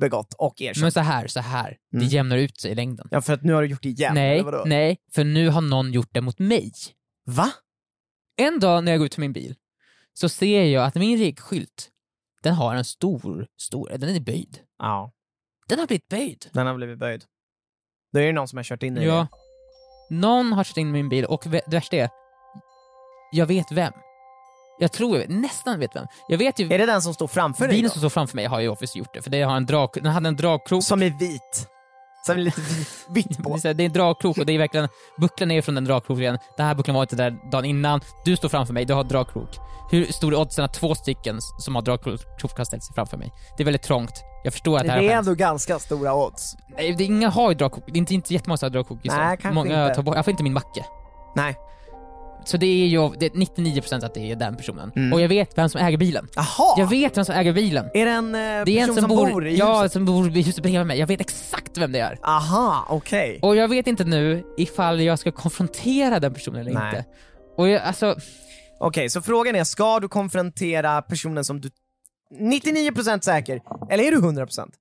Speaker 3: begått och erkänt.
Speaker 2: Men så här, så här. det
Speaker 3: Mm.
Speaker 2: jämnar ut sig i längden.
Speaker 3: Ja, för att nu har du gjort det igen.
Speaker 2: nej,
Speaker 3: eller vadå?
Speaker 2: nej, för nu har någon gjort det mot mig.
Speaker 3: Va?
Speaker 2: En dag när jag går ut till min bil så ser jag att min regskylt, den har en stor, stor, den är böjd.
Speaker 3: Ja,
Speaker 2: Den har blivit böjd.
Speaker 3: den har blivit böjd. Då är det någon som har kört in i
Speaker 2: Ja. Någon har kört in i min bil och vä- det värsta är, jag vet vem. Jag tror jag vet, nästan vet vem. Jag vet ju,
Speaker 3: det. Är det den som står framför dig?
Speaker 2: bilen
Speaker 3: då?
Speaker 2: som står framför mig har ju obviously gjort det, för det har en drag, den hade en dragkrok.
Speaker 3: Som är vit. Som är lite vit, vitt
Speaker 2: Det är
Speaker 3: på.
Speaker 2: så här, Det är en dragkrok och det är verkligen, bucklan är från den dragkroken, den här bucklan var inte där dagen innan, du står framför mig, du har dragkrok. Hur stor är oddsen att två stycken som har dragkrok har ställt sig framför mig? Det är väldigt trångt. Jag förstår att det här
Speaker 1: Det är
Speaker 2: har hänt.
Speaker 1: ändå ganska stora odds.
Speaker 2: Nej, det är Inga har ju dragkrok, det är inte, inte jättemånga som har dragkrok i
Speaker 3: Nej,
Speaker 2: stan.
Speaker 3: kanske
Speaker 2: Många
Speaker 3: inte.
Speaker 2: tar bort, jag får inte min macke.
Speaker 3: Nej.
Speaker 2: Så det är ju det är 99% att det är den personen.
Speaker 3: Mm.
Speaker 2: Och jag vet vem som äger bilen.
Speaker 3: Jaha!
Speaker 2: Jag vet vem som äger bilen.
Speaker 3: Är det en eh,
Speaker 2: Det är
Speaker 3: person
Speaker 2: en
Speaker 3: som, bor i
Speaker 2: ja,
Speaker 3: huset?
Speaker 2: som bor i huset bredvid mig. Jag vet exakt vem det är.
Speaker 3: Aha, okej.
Speaker 2: Och jag vet inte nu ifall jag ska konfrontera den personen eller
Speaker 3: Nej.
Speaker 2: inte. Och jag, alltså,
Speaker 3: Okej, så frågan är, ska du konfrontera personen som du 99% säker, eller är du 100%?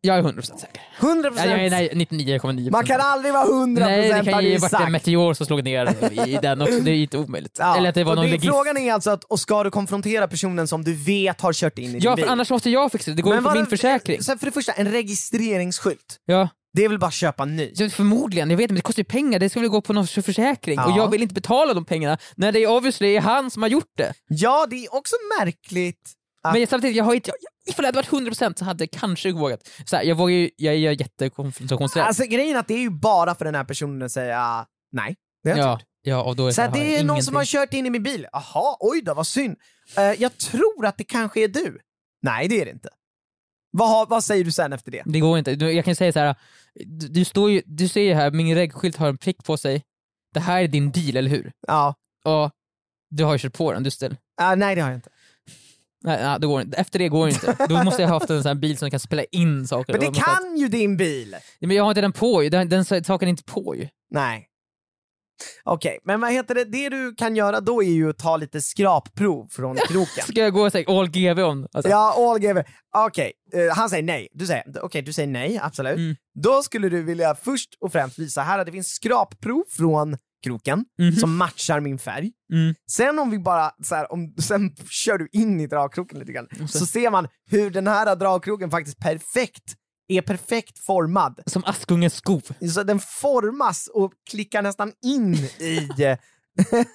Speaker 2: jag är 100% säker.
Speaker 3: 100%?
Speaker 2: Nej, jag är nej, 99,9%.
Speaker 1: Man kan aldrig vara 100%
Speaker 2: Nej, det kan ju
Speaker 1: har
Speaker 2: varit en meteor som slog ner i- i den också. Det är inte omöjligt.
Speaker 3: Ja,
Speaker 2: Eller att det var
Speaker 3: och
Speaker 2: någon
Speaker 3: det-
Speaker 2: legist.
Speaker 3: Frågan är alltså, att, och ska du konfrontera personen som du vet har kört in i din
Speaker 2: Ja,
Speaker 3: bil?
Speaker 2: för annars måste jag fixa det. Det går ju på
Speaker 3: vad-
Speaker 2: min försäkring.
Speaker 3: Så här, för det första, en registreringsskylt.
Speaker 2: Ja.
Speaker 3: Det är väl bara att köpa en ny?
Speaker 2: Så förmodligen, jag vet inte, men det kostar ju pengar. Det ska väl gå på någon försäkring.
Speaker 3: Ja.
Speaker 2: Och jag vill inte betala de pengarna när det är obviously är han som har gjort det.
Speaker 3: Ja, det är också märkligt. Ja.
Speaker 2: Men jag, samtidigt, jag har inte... Jag, ifall det hade varit 100% så hade jag kanske vågat. Så här, jag vågar ju... Jag är ju jättekonfrontationsrädd.
Speaker 3: Alltså grejen är att det är ju bara för den här personen att säga ah, nej. Det har jag inte
Speaker 2: ja, ja, och då är
Speaker 3: Så här,
Speaker 2: här, har
Speaker 3: det är
Speaker 2: jag
Speaker 3: någon som har
Speaker 2: ingenting.
Speaker 3: kört in i min bil. Aha, oj då, vad synd. Eh, jag tror att det kanske är du. Nej, det är det inte. Vad, har, vad säger du sen efter det?
Speaker 2: Det går inte. Du- Jag kan säga så här. Du, du, står ju, du ser ju här, min regskylt har en prick på sig. Det här är din bil, eller hur?
Speaker 3: Ja,
Speaker 2: Ja. Du har ju kört på den, du ställer.
Speaker 3: Ah, nej det har jag inte.
Speaker 2: Nej, nej, det går inte. Efter det går det inte. Då måste jag ha haft en sån här bil som kan spela in saker.
Speaker 3: Men
Speaker 2: Och
Speaker 3: det
Speaker 2: massa-
Speaker 3: kan ju din bil!
Speaker 2: Nej, Men jag har inte den på ju. Den, den saken är inte på ju.
Speaker 3: Nej. Okej, men vad heter det? Det du kan göra då är ju att ta lite skrapprov från kroken.
Speaker 2: Ska jag gå och säga all GV om? Alltså,
Speaker 1: Ja, all give.
Speaker 3: Okej, eh, han säger nej. Du säger, okej, du säger nej, absolut.
Speaker 2: Mm.
Speaker 3: Då skulle du vilja först och främst visa här att det finns skrapprov från kroken
Speaker 2: Mhm.
Speaker 3: som matchar min färg.
Speaker 2: Mm.
Speaker 3: Sen om vi bara, så här, om, sen kör du in i dragkroken lite grann, så ser man hur den här dragkroken faktiskt perfekt är perfekt formad.
Speaker 2: Som Askungens sko.
Speaker 3: Så den formas och klickar nästan in i eh,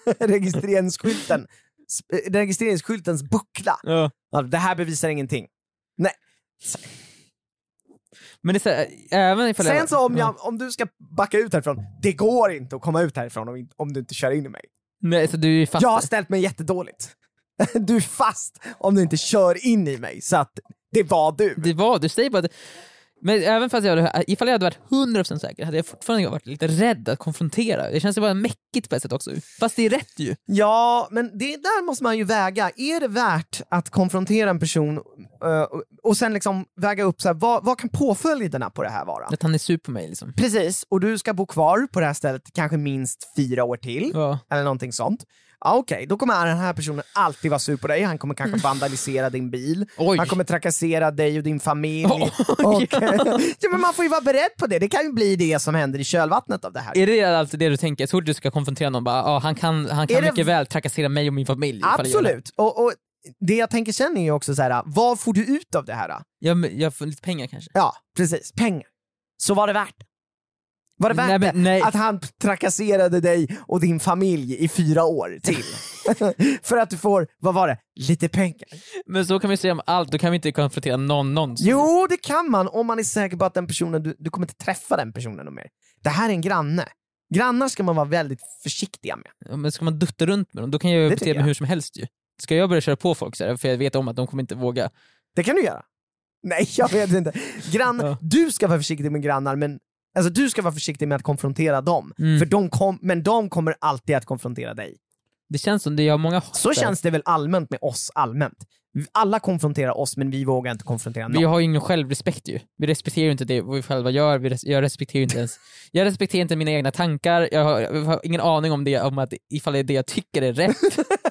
Speaker 3: registreringsskylten. Sp- Registreringsskyltens buckla.
Speaker 2: Ja.
Speaker 3: Ja, Det här bevisar ingenting.
Speaker 2: Men det är så här, även ifall
Speaker 3: Sen så om, jag, om du ska backa ut härifrån, det går inte att komma ut härifrån om, in- om du inte kör in i mig.
Speaker 2: Nej, så du är fast.
Speaker 3: Jag har ställt mig jättedåligt. Du är fast om du inte kör in i mig, så att det var du.
Speaker 2: Det var, du säger bara att- men även fast jag hade, ifall jag hade varit 100% säker hade jag fortfarande varit lite rädd att konfrontera. Det känns ju bara mäckigt på ett sätt också. Fast det är rätt ju.
Speaker 3: Ja, men det där måste man ju väga. Är det värt att konfrontera en person eh, och- och sen liksom väga upp så här, vad, vad kan påföljderna på det här vara?
Speaker 2: Att han är sur på mig liksom.
Speaker 3: Precis, och du ska bo kvar på det här stället kanske minst fyra år till,
Speaker 2: Ja.
Speaker 3: eller någonting sånt. Ja, Okej, då kommer den här personen alltid vara sur på dig. Han kommer kanske vandalisera din bil.
Speaker 2: Mm. Oj.
Speaker 3: Han kommer trakassera dig och din familj.
Speaker 2: Oj.
Speaker 3: Och, ja, men man får ju vara beredd på det. Det kan ju bli det som händer i kölvattnet av det här.
Speaker 2: Är det alltid det du tänker? Så fort du ska konfrontera någon, bara, ah, han kan, han
Speaker 3: Är
Speaker 2: kan
Speaker 3: det-
Speaker 2: mycket väl trakassera mig och min familj. ifall jag gör det.
Speaker 3: Absolut. Och, och det jag tänker sen är ju också så här, vad får du ut av det här? då?
Speaker 2: Jag, men jag får lite pengar kanske.
Speaker 3: Ja, precis. Pengar. Så var det värt det? Var det värt
Speaker 2: Nej, men
Speaker 3: det?
Speaker 2: nej.
Speaker 3: att han trakasserade dig och din familj i fyra år till? För att du får, vad var det, lite pengar?
Speaker 2: Men så kan vi säga om allt, då kan vi inte konfrontera någon någonsin.
Speaker 3: Jo, det kan man om man är säker på att den personen, du, du kommer inte träffa den personen någon mer. Det här är en granne. Grannar ska man vara väldigt försiktiga med.
Speaker 2: Ja, Men ska man dutta runt med dem, då kan jag ju
Speaker 3: Det
Speaker 2: bete
Speaker 3: tycker
Speaker 2: mig
Speaker 3: jag.
Speaker 2: hur som helst ju. Ska jag börja köra på folk så här, för jag vet om att de kommer inte våga.
Speaker 3: Det kan du göra. Nej, jag vet inte. Grann,
Speaker 2: Ja.
Speaker 3: Du ska vara försiktig med grannar, men alltså, du ska vara försiktig med att konfrontera dem.
Speaker 2: Mm.
Speaker 3: För de kom, men de kommer alltid att konfrontera dig.
Speaker 2: Det känns som det, jag har många hatar.
Speaker 3: Så känns det väl allmänt med oss allmänt. Alla konfronterar oss, men vi vågar inte konfrontera någon.
Speaker 2: Vi har ju ingen självrespekt ju. Vi respekterar ju inte det vi själva gör, vi res- jag respekterar ju inte ens... Jag respekterar inte mina egna tankar, jag har, jag har ingen aning om det, om att ifall det är det jag tycker är rätt.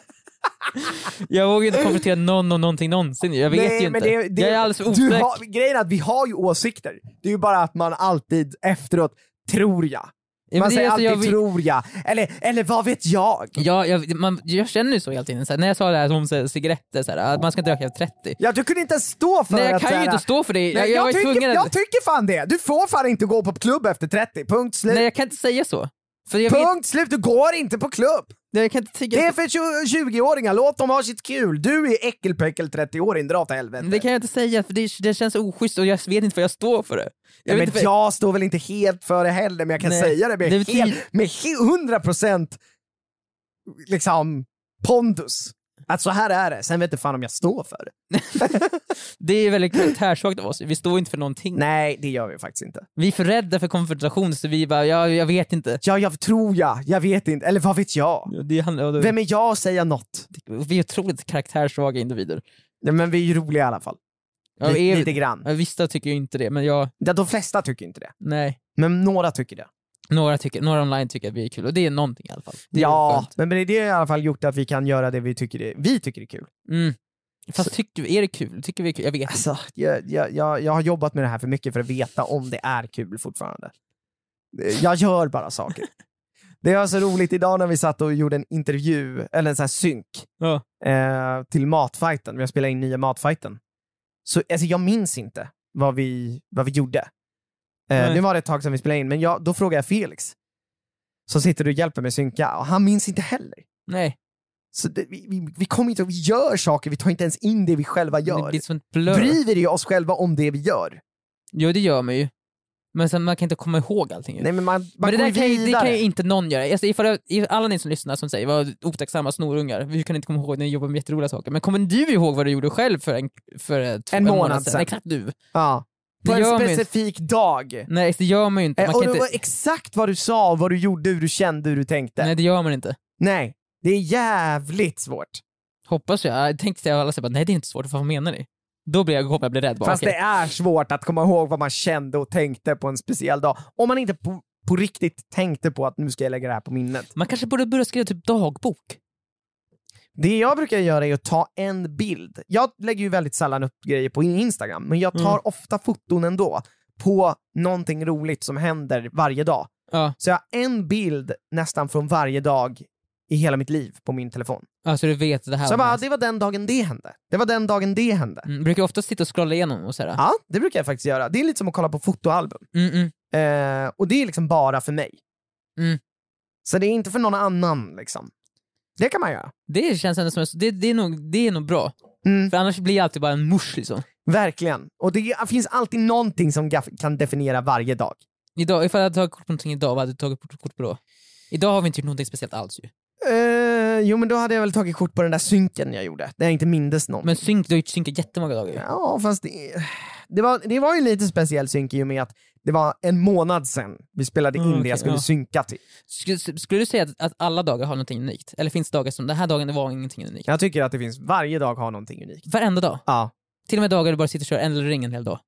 Speaker 2: jag vågar ju inte konfrontera någon om någonting någonsin ju. jag vet ju inte. jag är alldeles för
Speaker 3: du
Speaker 2: osäker.
Speaker 3: har, Grejen är att vi har ju åsikter. Det är ju bara att man alltid efteråt, tror jag.
Speaker 2: Ja, men
Speaker 3: man
Speaker 2: det är
Speaker 3: säger
Speaker 2: alltså,
Speaker 3: alltid
Speaker 2: jag vill-
Speaker 3: tror jag, eller, eller vad vet jag?
Speaker 2: Ja, jag, man, jag känner ju så hela tiden, så här, när jag sa det här om så här, cigaretter, så här, att man ska inte röka efter 30.
Speaker 3: Ja, du kunde inte ens stå för
Speaker 2: Nej jag
Speaker 3: att
Speaker 2: kan ju
Speaker 3: såhär-
Speaker 2: inte stå för det, jag,
Speaker 3: Nej,
Speaker 2: jag,
Speaker 3: jag,
Speaker 2: var ju
Speaker 3: tycker,
Speaker 2: tvungen att...
Speaker 3: jag tycker fan det! Du får fan inte gå på klubb efter 30, punkt slut.
Speaker 2: Nej jag kan inte säga så. För jag, vet,
Speaker 3: punkt slut, du går inte på klubb!
Speaker 2: Nej, jag kan inte tycka
Speaker 3: Det är för tju- 20-åringar, låt dem ha sitt kul. Du är äckelpäckel 30-åring, dra åt helvete.
Speaker 2: Det kan jag inte säga, för det, det känns oschysst och jag vet inte vad jag står för. det.
Speaker 3: jag,
Speaker 2: vet
Speaker 3: men
Speaker 2: inte vad-
Speaker 3: jag står väl inte helt för det heller, men jag kan
Speaker 2: Nej.
Speaker 3: säga det med,
Speaker 2: Det är väl
Speaker 3: helt, med he- 100% liksom pondus. Att så här är det, sen vet du fan om jag står för det.
Speaker 2: Det är väldigt karaktärsvagt av oss, vi står inte för någonting.
Speaker 3: Nej, det gör vi faktiskt inte.
Speaker 2: Vi är för rädda för konfrontation så vi bara, ja, jag vet inte.
Speaker 3: Ja, jag tror jag, jag vet inte, eller vad vet jag?
Speaker 2: Ja, Det handlar, om-
Speaker 3: Vem är jag att säga något?
Speaker 2: Vi är otroligt karaktärsvaga individer.
Speaker 3: Ja, men vi är ju roliga i alla fall.
Speaker 2: Ja,
Speaker 3: Lite-
Speaker 2: vi är-
Speaker 3: lite grann.
Speaker 2: ja, Vissa tycker ju inte det, men jag,
Speaker 3: Ja, de flesta tycker inte det,
Speaker 2: nej.
Speaker 3: men några tycker det.
Speaker 2: Några, tycker, några online tycker att vi är kul och det är någonting i alla fall. Det är
Speaker 3: Ja,
Speaker 2: skönt.
Speaker 3: men men det har i alla fall gjort att vi kan göra det vi tycker är, vi tycker är kul.
Speaker 2: Mm. Fast tycker, vi- är det kul? Tycker vi är kul? Jag vet inte.
Speaker 3: Alltså, jag, jag, jag, jag har jobbat med det här för mycket för att veta om det är kul fortfarande. Eh, Jag gör bara saker. Det var så roligt idag när vi satt och gjorde en intervju, eller en sån här synk,
Speaker 2: Ja.
Speaker 3: eh, till Matfighten. Vi har spelat in nya Matfighten. Så alltså, jag minns inte vad vi, vad vi gjorde. Eh,
Speaker 2: Nej.
Speaker 3: nu var det ett tag sedan vi spelade in, men jag, då frågade jag Felix, som sitter och hjälper mig synka, och han minns inte heller.
Speaker 2: Nej,
Speaker 3: Så det, vi, vi, vi kommer inte, vi gör saker, vi tar inte ens in det vi själva
Speaker 2: det
Speaker 3: gör.
Speaker 2: blir som ett blur.
Speaker 3: Bryr vi oss själva om det vi gör?
Speaker 2: Jo, det gör man ju. Men sen man kan inte komma ihåg allting. ju.
Speaker 3: Nej men man, man
Speaker 2: men det,
Speaker 3: går
Speaker 2: där kan ju, det
Speaker 3: vidare.
Speaker 2: kan ju inte någon göra. Alltså, ifall, ifall, alla ni som lyssnar som säger vad otacksamma snorungar, vi kan inte komma ihåg när ni jobbar med jätteroliga saker. Men kommer du ihåg vad du gjorde själv för en, för eh, två,
Speaker 3: En månad sedan.
Speaker 2: Exakt du.
Speaker 3: ja. På
Speaker 2: Det gör
Speaker 3: en
Speaker 2: man ju inte.
Speaker 3: specifik dag.
Speaker 2: Nej, det gör man ju inte.
Speaker 3: Eh,
Speaker 2: Man
Speaker 3: och
Speaker 2: kan
Speaker 3: det var
Speaker 2: inte
Speaker 3: exakt vad du sa, vad du gjorde, hur du kände, hur du tänkte.
Speaker 2: nej,
Speaker 3: Nej.
Speaker 2: det gör man inte.
Speaker 3: det är jävligt svårt.
Speaker 2: Hoppas jag. Jag tänkte att alla säger bara, nej det är inte svårt, vad menar ni? Då blir jag, kommer jag bli rädd. Bara,
Speaker 3: Fast
Speaker 2: okej.
Speaker 3: det är svårt att komma ihåg vad man kände och tänkte på en speciell dag. Om man inte på, på riktigt tänkte på att nu ska jag lägga det här på minnet.
Speaker 2: Man kanske borde börja skriva typ dagbok.
Speaker 3: Det jag brukar göra är att ta en bild. Jag lägger ju väldigt sällan upp grejer på Instagram, men jag tar
Speaker 2: Mm.
Speaker 3: ofta foton ändå på någonting roligt som händer varje dag.
Speaker 2: Ja.
Speaker 3: Så jag har en bild nästan från varje dag i hela mitt liv på min telefon.
Speaker 2: Alltså du vet det här.
Speaker 3: Så jag
Speaker 2: var
Speaker 3: bara,
Speaker 2: nice.
Speaker 3: det var den dagen det hände. Det var den dagen det hände.
Speaker 2: mm, brukar jag ofta sitta och scrolla igenom och sådär.
Speaker 3: Ja, det brukar jag faktiskt göra. Det är lite som att kolla på fotoalbum.
Speaker 2: Mm, mm.
Speaker 3: Eh, och det är liksom bara för mig.
Speaker 2: Mm.
Speaker 3: Så det är inte för någon annan liksom. Det kan man göra.
Speaker 2: Det känns ändå som, det, det, är nog, det är nog bra.
Speaker 3: Mm.
Speaker 2: För annars blir jag alltid bara en mush liksom.
Speaker 3: Verkligen. Och det finns alltid någonting som gaff- kan definiera varje dag.
Speaker 2: Idag, ifall jag hade tagit kort på någonting idag, vad hade du tagit kort kort på då? Idag har vi inte gjort någonting speciellt alls ju.
Speaker 3: Eh, jo, men då hade jag väl tagit kort på den där synken jag gjorde, där jag inte mindes någon.
Speaker 2: Men synk, du har ju synkat jättemånga dagar ju.
Speaker 3: Ja, fast det, det, var, det var ju lite speciell synk i och med att det var en månad sedan vi spelade in
Speaker 2: Mm,
Speaker 3: det
Speaker 2: okej,
Speaker 3: jag skulle
Speaker 2: ja.
Speaker 3: synka till.
Speaker 2: Sk- skulle du säga att, att alla dagar har någonting unikt? Eller finns det dagar som den här dagen det var ingenting unikt?
Speaker 3: Jag tycker att det finns, varje dag har någonting unikt.
Speaker 2: Varenda dag?
Speaker 3: Ja.
Speaker 2: Till och med dagar du bara sitter och kör en ring en hel dag?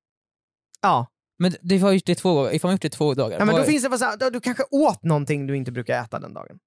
Speaker 3: Ja,
Speaker 2: Men du har gjort det två gånger, ifall man har gjort det två dagar.
Speaker 3: ja men då
Speaker 2: vad-
Speaker 3: finns det bara så här, då- du kanske åt någonting du inte brukar äta den dagen.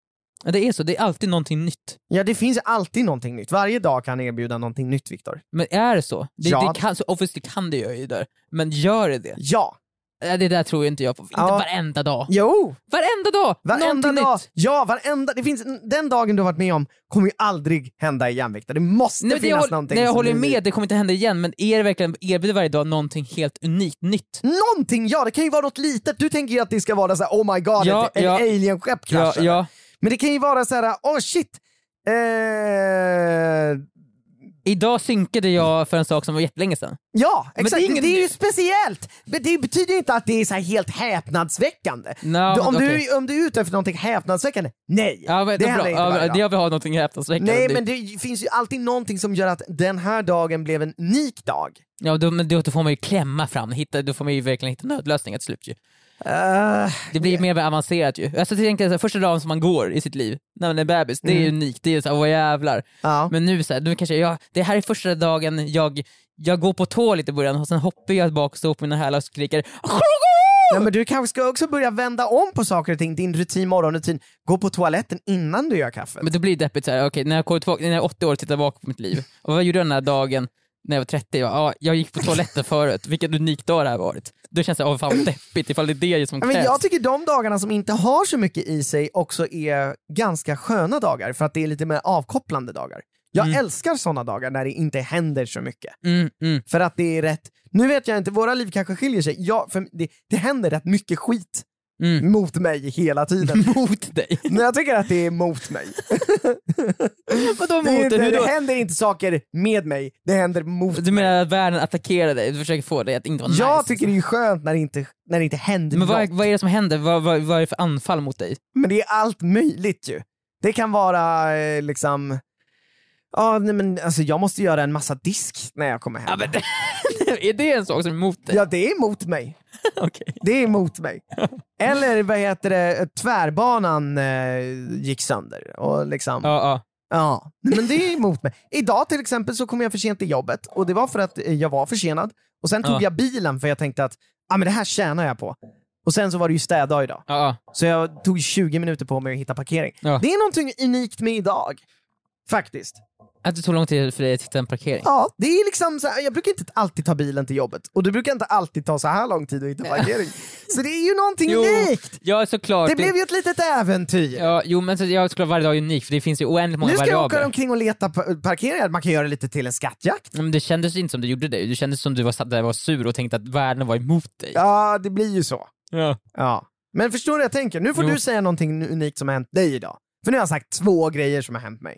Speaker 2: Ja, det är så, det är alltid någonting nytt.
Speaker 3: Ja, det finns alltid någonting nytt. Varje dag kan erbjuda någonting nytt, Viktor.
Speaker 2: Men är det så? Det,
Speaker 3: Ja.
Speaker 2: det kan, så obviously kan det ju där. Men gör det det?
Speaker 3: Ja!
Speaker 2: Nej, Det där tror jag inte jag på. Inte
Speaker 3: Ja.
Speaker 2: varenda dag.
Speaker 3: Jo!
Speaker 2: Varenda dag!
Speaker 3: Varenda
Speaker 2: någonting
Speaker 3: dag.
Speaker 2: nytt.
Speaker 3: Ja, varenda. Det finns, den dagen du har varit med om kommer ju aldrig hända igen, Viktor. Det måste
Speaker 2: Nej, men det jag,
Speaker 3: finnas
Speaker 2: håll-
Speaker 3: någonting
Speaker 2: nej, jag
Speaker 3: som
Speaker 2: håller
Speaker 3: är
Speaker 2: med, det kommer inte hända igen. Men är det verkligen, erbjuder varje dag någonting helt unikt, nytt?
Speaker 3: Någonting, ja det kan ju vara något litet. Du tänker ju att det ska vara så här, oh my god,
Speaker 2: Ja,
Speaker 3: ett, ett
Speaker 2: ja.
Speaker 3: alienskepp
Speaker 2: Ja,
Speaker 3: kraschade.
Speaker 2: ja.
Speaker 3: Men det kan ju vara så här, oh shit, eh,
Speaker 2: Idag synkade jag för en sak som var jättelänge sedan.
Speaker 3: Ja,
Speaker 2: Men det
Speaker 3: exakt. Det
Speaker 2: är
Speaker 3: är,
Speaker 2: ingen-
Speaker 3: ju speciellt. Men det betyder ju inte att det är så här helt häpnadsväckande.
Speaker 2: Nå,
Speaker 3: du,
Speaker 2: men
Speaker 3: om,
Speaker 2: okej.
Speaker 3: du, om du är ute efter någonting häpnadsväckande, nej.
Speaker 2: Ja, men, det är bra.
Speaker 3: händer inte
Speaker 2: Ja,
Speaker 3: varje
Speaker 2: men,
Speaker 3: dag.
Speaker 2: jag vill ha någonting häpnadsväckande. typ.
Speaker 3: Nej, men det finns ju alltid någonting som gör att den här dagen blev en unik dag.
Speaker 2: Ja, då, men då då får man ju klämma fram, hitta, då får man ju verkligen hitta nödlösningar till slut ju.
Speaker 3: Eh,
Speaker 2: Det blir mer avancerat ju. Alltså, jag tänker, så här, första dagen som man går i sitt liv, när man är bebis, det är
Speaker 3: Mm.
Speaker 2: ju unikt, det är såhär, åh jävlar.
Speaker 3: ja.
Speaker 2: Men nu såhär, nu kanske jag, det här är första dagen jag, jag går på tå lite i början och sen hoppar jag bak och står på mina hälar och skriker
Speaker 3: Nej, men du kanske ska också börja vända om på saker och ting. Din rutin, morgonrutin. Gå på toaletten innan du gör kaffet.
Speaker 2: Men då blir det deppigt såhär, okej när jag kommer tillbaka, när jag är 80 år och tittar tillbaka på mitt liv, och vad gjorde jag den här dagen när jag var 30? Jag, ja, jag gick på toaletten förut, vilken unik dag det här varit. Då känns det, åh fan vad deppigt ifall det är det som
Speaker 3: Ja,
Speaker 2: krävs.
Speaker 3: Men jag tycker de dagarna som inte har så mycket i sig också är ganska sköna dagar för att det är lite mer avkopplande dagar. Jag
Speaker 2: Mm.
Speaker 3: älskar sådana dagar när det inte händer så mycket.
Speaker 2: mm, mm.
Speaker 3: För att det är rätt, nu vet jag inte, våra liv kanske skiljer sig. Jag, för det, det händer rätt mycket skit
Speaker 2: Mm.
Speaker 3: mot mig hela tiden.
Speaker 2: Mot dig?
Speaker 3: Men jag tycker att det är mot mig.
Speaker 2: Vadå
Speaker 3: Det, är
Speaker 2: mot
Speaker 3: inte,
Speaker 2: dig? Hur
Speaker 3: det
Speaker 2: då?
Speaker 3: händer inte saker med mig, det händer mot
Speaker 2: Du menar att världen attackerar dig, du försöker få dig att inte vara nice?
Speaker 3: Jag tycker det är skönt när det inte, när det inte händer
Speaker 2: Men vad,
Speaker 3: något.
Speaker 2: vad är det som händer? Vad, vad, vad är det för anfall mot dig?
Speaker 3: Men det är allt möjligt ju. Det kan vara eh, liksom... Ja, nej, men alltså jag måste göra en massa disk när jag kommer hem. Ja,
Speaker 2: det, är det en sak som är emot dig?
Speaker 3: det är emot mig.
Speaker 2: Okej.
Speaker 3: Det är emot mig. Eller vad heter det, tvärbanan eh, gick sönder. Och liksom, ja.
Speaker 2: Ja, ja.
Speaker 3: men det är emot mig. Idag till exempel så kom jag för sent till jobbet och det var för att eh, jag var försenad. Och sen tog
Speaker 2: Ja.
Speaker 3: jag bilen för jag tänkte att ah, men det här tjänar jag på. Och sen så var det ju städdag idag.
Speaker 2: ja,
Speaker 3: Så jag tog 20 minuter på mig att hitta parkering.
Speaker 2: Ja.
Speaker 3: Det är någonting unikt med idag. Faktiskt.
Speaker 2: ja. Att det tog lång tid för dig att hitta en parkering?
Speaker 3: Ja, det är liksom så här, jag brukar inte alltid ta bilen till jobbet och du brukar inte alltid ta så här lång tid att hitta parkering. Så det är ju någonting
Speaker 2: Jo,
Speaker 3: unikt.
Speaker 2: Ja, såklart.
Speaker 3: Det blev ju ett litet äventyr.
Speaker 2: Ja, jo men så, jag skulle varje dag är unik för det finns ju oändligt många
Speaker 3: nu ska jag
Speaker 2: variabler.
Speaker 3: åka omkring och leta pa- parkeringar. Man kan göra det lite till en skattjakt.
Speaker 2: Ja, Men Mm, det kändes ju inte som du gjorde det, det kändes som du var, satt där och var sur och tänkte att världen var emot dig.
Speaker 3: Ja, det blir ju så.
Speaker 2: Ja.
Speaker 3: Ja. Men förstår du vad jag tänker? Nu får
Speaker 2: Jo.
Speaker 3: du säga någonting unikt som har hänt dig idag. För nu har jag sagt två grejer som har hänt mig.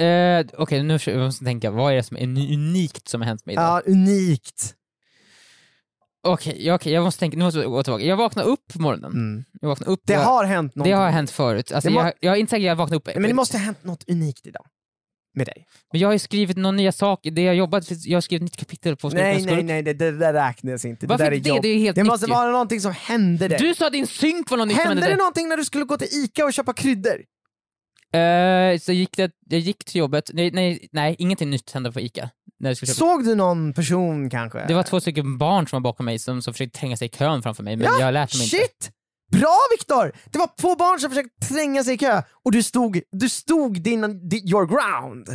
Speaker 2: Eh, Okej, nu försöker- jag måste tänka, vad är det som är unikt som har hänt mig idag?
Speaker 3: Ja, unikt.
Speaker 2: Okej, ja, okej, jag måste tänka, nu måste jag gå tillbaka. Jag vaknade upp på morgonen.
Speaker 3: Mm.
Speaker 2: Jag vaknade upp,
Speaker 3: Det
Speaker 2: jag,
Speaker 3: har hänt
Speaker 2: det
Speaker 3: någonting.
Speaker 2: har hänt förut. Alltså,
Speaker 3: Det må-
Speaker 2: jag, jag är inte säker att jag vaknade upp.
Speaker 3: Nej, Men det måste ha hänt något unikt idag. Med dig.
Speaker 2: Men jag har ju skrivit några nya saker, det jag har jobbat, jag har skrivit ett nytt kapitel på
Speaker 3: Nej,
Speaker 2: Skolkans
Speaker 3: nej,
Speaker 2: Skolk.
Speaker 3: nej, det, det där räknas inte.
Speaker 2: Varför
Speaker 3: det där
Speaker 2: inte
Speaker 3: är
Speaker 2: det?
Speaker 3: jobb.
Speaker 2: Det är ju helt
Speaker 3: det
Speaker 2: nytt
Speaker 3: måste
Speaker 2: ju.
Speaker 3: vara någonting som hände dig.
Speaker 2: Du sa att din synk var något nytt som
Speaker 3: hände
Speaker 2: hände
Speaker 3: det
Speaker 2: dig.
Speaker 3: någonting när du skulle gå till Ica och köpa kryddor?
Speaker 2: Eh, så gick det, jag gick till jobbet, nej, nej, nej ingenting nytt hände på ICA. När jag skulle köpa.
Speaker 3: Såg du någon person kanske?
Speaker 2: Det var två stycken barn som var bakom mig som, som försökte tränga sig i kön framför mig, men
Speaker 3: Ja,
Speaker 2: jag lät dem inte.
Speaker 3: Shit! Bra Viktor! Det var två barn som försökte tränga sig i kö och du stod, du stod din, di- your ground.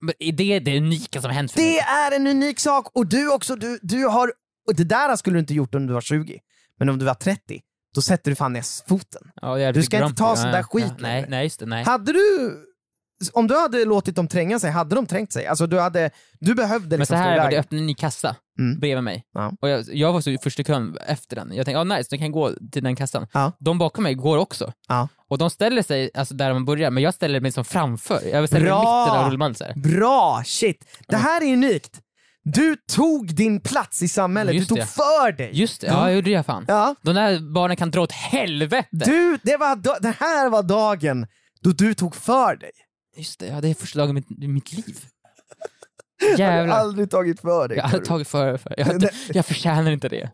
Speaker 2: Men är det det unika som har hänt för
Speaker 3: Det
Speaker 2: mig?
Speaker 3: är en unik sak och du också, du, du har... Och det där skulle du inte gjort om du var 20. Men om du var 30, då sätter du fan ner foten.
Speaker 2: Ja, jag är
Speaker 3: Du
Speaker 2: lite
Speaker 3: ska inte
Speaker 2: grumpy.
Speaker 3: ta sån där skit
Speaker 2: nej,
Speaker 3: längre.
Speaker 2: nej, just det, nej.
Speaker 3: Hade du, om du hade låtit dem tränga sig, hade de trängt sig? Alltså du, hade, du behövde
Speaker 2: Men så
Speaker 3: liksom stå i
Speaker 2: här var det
Speaker 3: vägen.
Speaker 2: öppnade en ny kassa
Speaker 3: Mm.
Speaker 2: bredvid mig.
Speaker 3: Ja.
Speaker 2: Och jag, jag var så i första kön efter den. Jag tänkte, ja nice, nu kan jag gå till den kassan.
Speaker 3: Ja.
Speaker 2: De bakom mig går också.
Speaker 3: Ja.
Speaker 2: Och de ställer sig alltså, där de börjar, men jag ställer mig som framför. Jag ställer mig
Speaker 3: Bra!
Speaker 2: i mitten av rullbandet så här.
Speaker 3: Bra, shit! Det här är unikt. Du tog din plats i samhället,
Speaker 2: Just
Speaker 3: du tog
Speaker 2: det.
Speaker 3: för dig.
Speaker 2: Just det, ja, jag gjorde det fan.
Speaker 3: Ja.
Speaker 2: De där barnen kan dra åt helvete!
Speaker 3: Du, det, var, da- det här var dagen då du tog för dig.
Speaker 2: Just det, ja, det är första dagen i mitt, i mitt liv.
Speaker 3: Jag har
Speaker 2: Jävlar.
Speaker 3: aldrig tagit för dig.
Speaker 2: Jag hade
Speaker 3: Karo.
Speaker 2: tagit för, för. Jag, jag förtjänar inte det.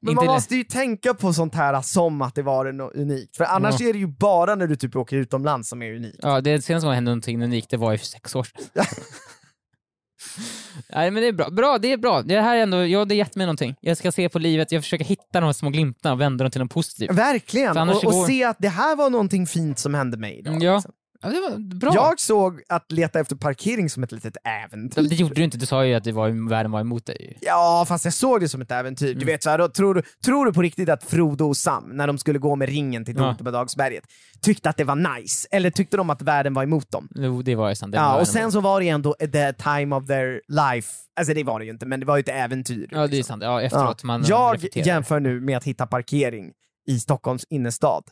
Speaker 3: Men
Speaker 2: inte
Speaker 3: man
Speaker 2: det.
Speaker 3: måste ju tänka på sånt här som att det var något unikt. För annars är det ju bara när du typ åker utomlands som är unikt.
Speaker 2: Ja, det senaste gången hände någonting unikt, det var ju för sex år sedan. Nej men det är bra. Bra, det är bra. Det här är ändå, ja det har gett mig någonting. Jag ska se på livet, jag försöker hitta de små glimtarna och vända dem till något positivt.
Speaker 3: Verkligen!
Speaker 2: För annars
Speaker 3: Och, och
Speaker 2: går-
Speaker 3: se att det här var någonting fint som hände mig idag.
Speaker 2: Ja.
Speaker 3: liksom.
Speaker 2: ja, det var bra.
Speaker 3: Jag såg att leta efter parkering som ett litet äventyr.
Speaker 2: Det gjorde du inte, du sa ju att det var, världen var emot dig.
Speaker 3: Ja, fast jag såg det som ett äventyr.
Speaker 2: Mm.
Speaker 3: Du vet, så här, då, tror, du, tror du på riktigt att Frodo och Sam, när de skulle gå med ringen till
Speaker 2: Ja.
Speaker 3: Tomtebadagsberget, tyckte att det var nice? Eller tyckte de att världen var emot dem?
Speaker 2: Jo, det var ju sant. Det var
Speaker 3: Ja,
Speaker 2: världen
Speaker 3: och sen så var det ändå the time of their life. Alltså det var det ju inte, men det var ju ett äventyr. liksom.
Speaker 2: Ja, det är sant. Ja,
Speaker 3: Ja.
Speaker 2: efteråt. Man
Speaker 3: jag
Speaker 2: reflekterar.
Speaker 3: jämför nu med att hitta parkering i Stockholms innerstad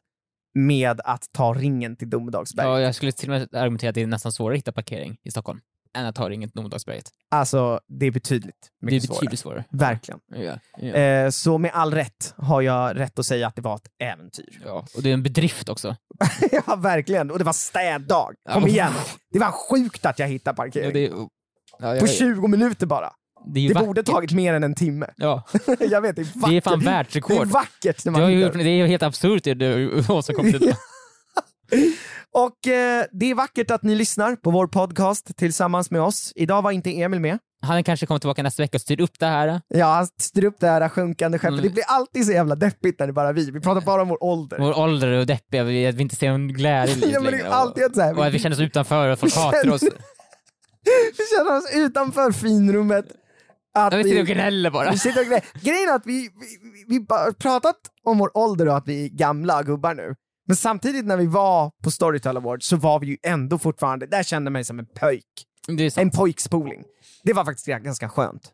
Speaker 3: med att ta ringen till Domedagsberg.
Speaker 2: Ja, jag skulle till och med argumentera att det är nästan svårare att hitta parkering i Stockholm än att ta ringen till Nordagsberget.
Speaker 3: Alltså, det är betydligt
Speaker 2: Det är
Speaker 3: mycket
Speaker 2: betydligt svårare.
Speaker 3: svårare. Verkligen.
Speaker 2: Ja, ja.
Speaker 3: Eh, så med all rätt har jag rätt att säga att det var ett äventyr.
Speaker 2: ja, och det är en bedrift också.
Speaker 3: ja, verkligen. Och det var städdag.
Speaker 2: Ja.
Speaker 3: Kom igen. Det var sjukt att jag hittade
Speaker 2: Ja,
Speaker 3: parkering.
Speaker 2: det, är- ja, jag,
Speaker 3: På 20 minuter bara.
Speaker 2: Eh, det är ju
Speaker 3: Det
Speaker 2: vackert.
Speaker 3: borde tagit mer än en timme.
Speaker 2: Ja,
Speaker 3: jag vet, det är vackert.
Speaker 2: det är fan
Speaker 3: Det är
Speaker 2: världsrekord.
Speaker 3: vackert när
Speaker 2: Det,
Speaker 3: man
Speaker 2: har ju
Speaker 3: hittar
Speaker 2: gjort, det är ju helt absurt det du åstadkommit idag.
Speaker 3: Och eh, det är vackert att ni lyssnar på vår podcast tillsammans med oss. Idag var inte Emil med.
Speaker 2: Han kanske kommer tillbaka nästa vecka och styr upp det här.
Speaker 3: Ja, han styr upp det här sjunkande skeppet.
Speaker 2: Mm.
Speaker 3: Det blir alltid så jävla deppigt när det bara är vi. Vi pratar bara om vår ålder.
Speaker 2: Vår ålder och deppiga, vi- att vi inte ser någon glädje i
Speaker 3: Ja,
Speaker 2: livet
Speaker 3: men det är
Speaker 2: längre.
Speaker 3: alltid
Speaker 2: Och,
Speaker 3: att så här,
Speaker 2: och att
Speaker 3: vi,
Speaker 2: vi känner oss utanför och folk
Speaker 3: Vi
Speaker 2: hatar
Speaker 3: känner-
Speaker 2: oss.
Speaker 3: vi känner oss utanför finrummet. Att
Speaker 2: Jag vet inte, och gnäller bara.
Speaker 3: vi sitter och grä... Grejen är att vi, vi, vi, vi bara har pratat om vår ålder och att vi är gamla gubbar nu. Men samtidigt när vi var på Storytel Awards så var vi ju ändå fortfarande, där kände jag mig som en pöjk.
Speaker 2: Det, är sant.
Speaker 3: En pojkspoling. Det var faktiskt ganska skönt.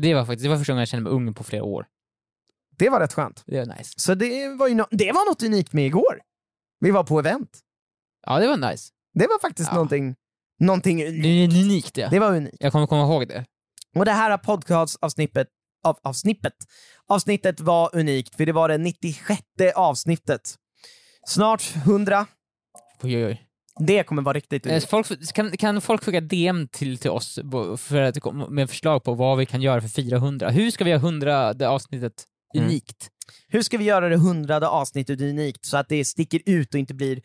Speaker 2: det var faktiskt det var första gången jag kände mig ung på flera år.
Speaker 3: Det var rätt skönt.
Speaker 2: Det var nice.
Speaker 3: Så det var, ju no- det var något unikt med igår. Vi var på event.
Speaker 2: Ja, det var nice.
Speaker 3: Det var faktiskt
Speaker 2: Ja.
Speaker 3: någonting, någonting
Speaker 2: Det
Speaker 3: unikt.
Speaker 2: är unikt det.
Speaker 3: Det var unikt.
Speaker 2: Jag kommer komma ihåg det.
Speaker 3: Och det här podcastavsnippet av, avsnippet. avsnittet var unikt för det var det 96 avsnittet. Snart 100.
Speaker 2: Oj, oj, oj.
Speaker 3: Det kommer vara riktigt
Speaker 2: Eh,
Speaker 3: unikt.
Speaker 2: Folk, kan, kan folk skicka DM till, till oss bo- för att, komma med förslag på vad vi kan göra för 400? Hur ska vi göra 100 det avsnittet
Speaker 3: Mm.
Speaker 2: unikt?
Speaker 3: Hur ska vi göra det hundrade avsnittet unikt så att det sticker ut och inte blir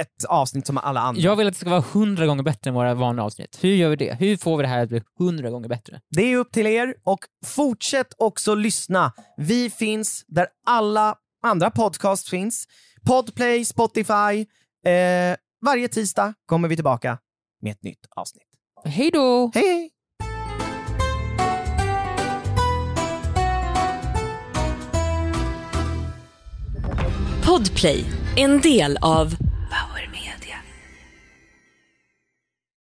Speaker 3: ett avsnitt som alla andra?
Speaker 2: Jag vill att det ska vara 100 gånger bättre än våra vanliga avsnitt. Hur gör vi det? Hur får vi det här att bli 100 gånger bättre?
Speaker 3: Det är upp till er och fortsätt också lyssna. Vi finns där alla andra podcasts finns. Podplay, Spotify. Eh, varje tisdag kommer vi tillbaka med ett nytt avsnitt.
Speaker 2: Hej då!
Speaker 3: Hej hej!
Speaker 4: Podplay, en del av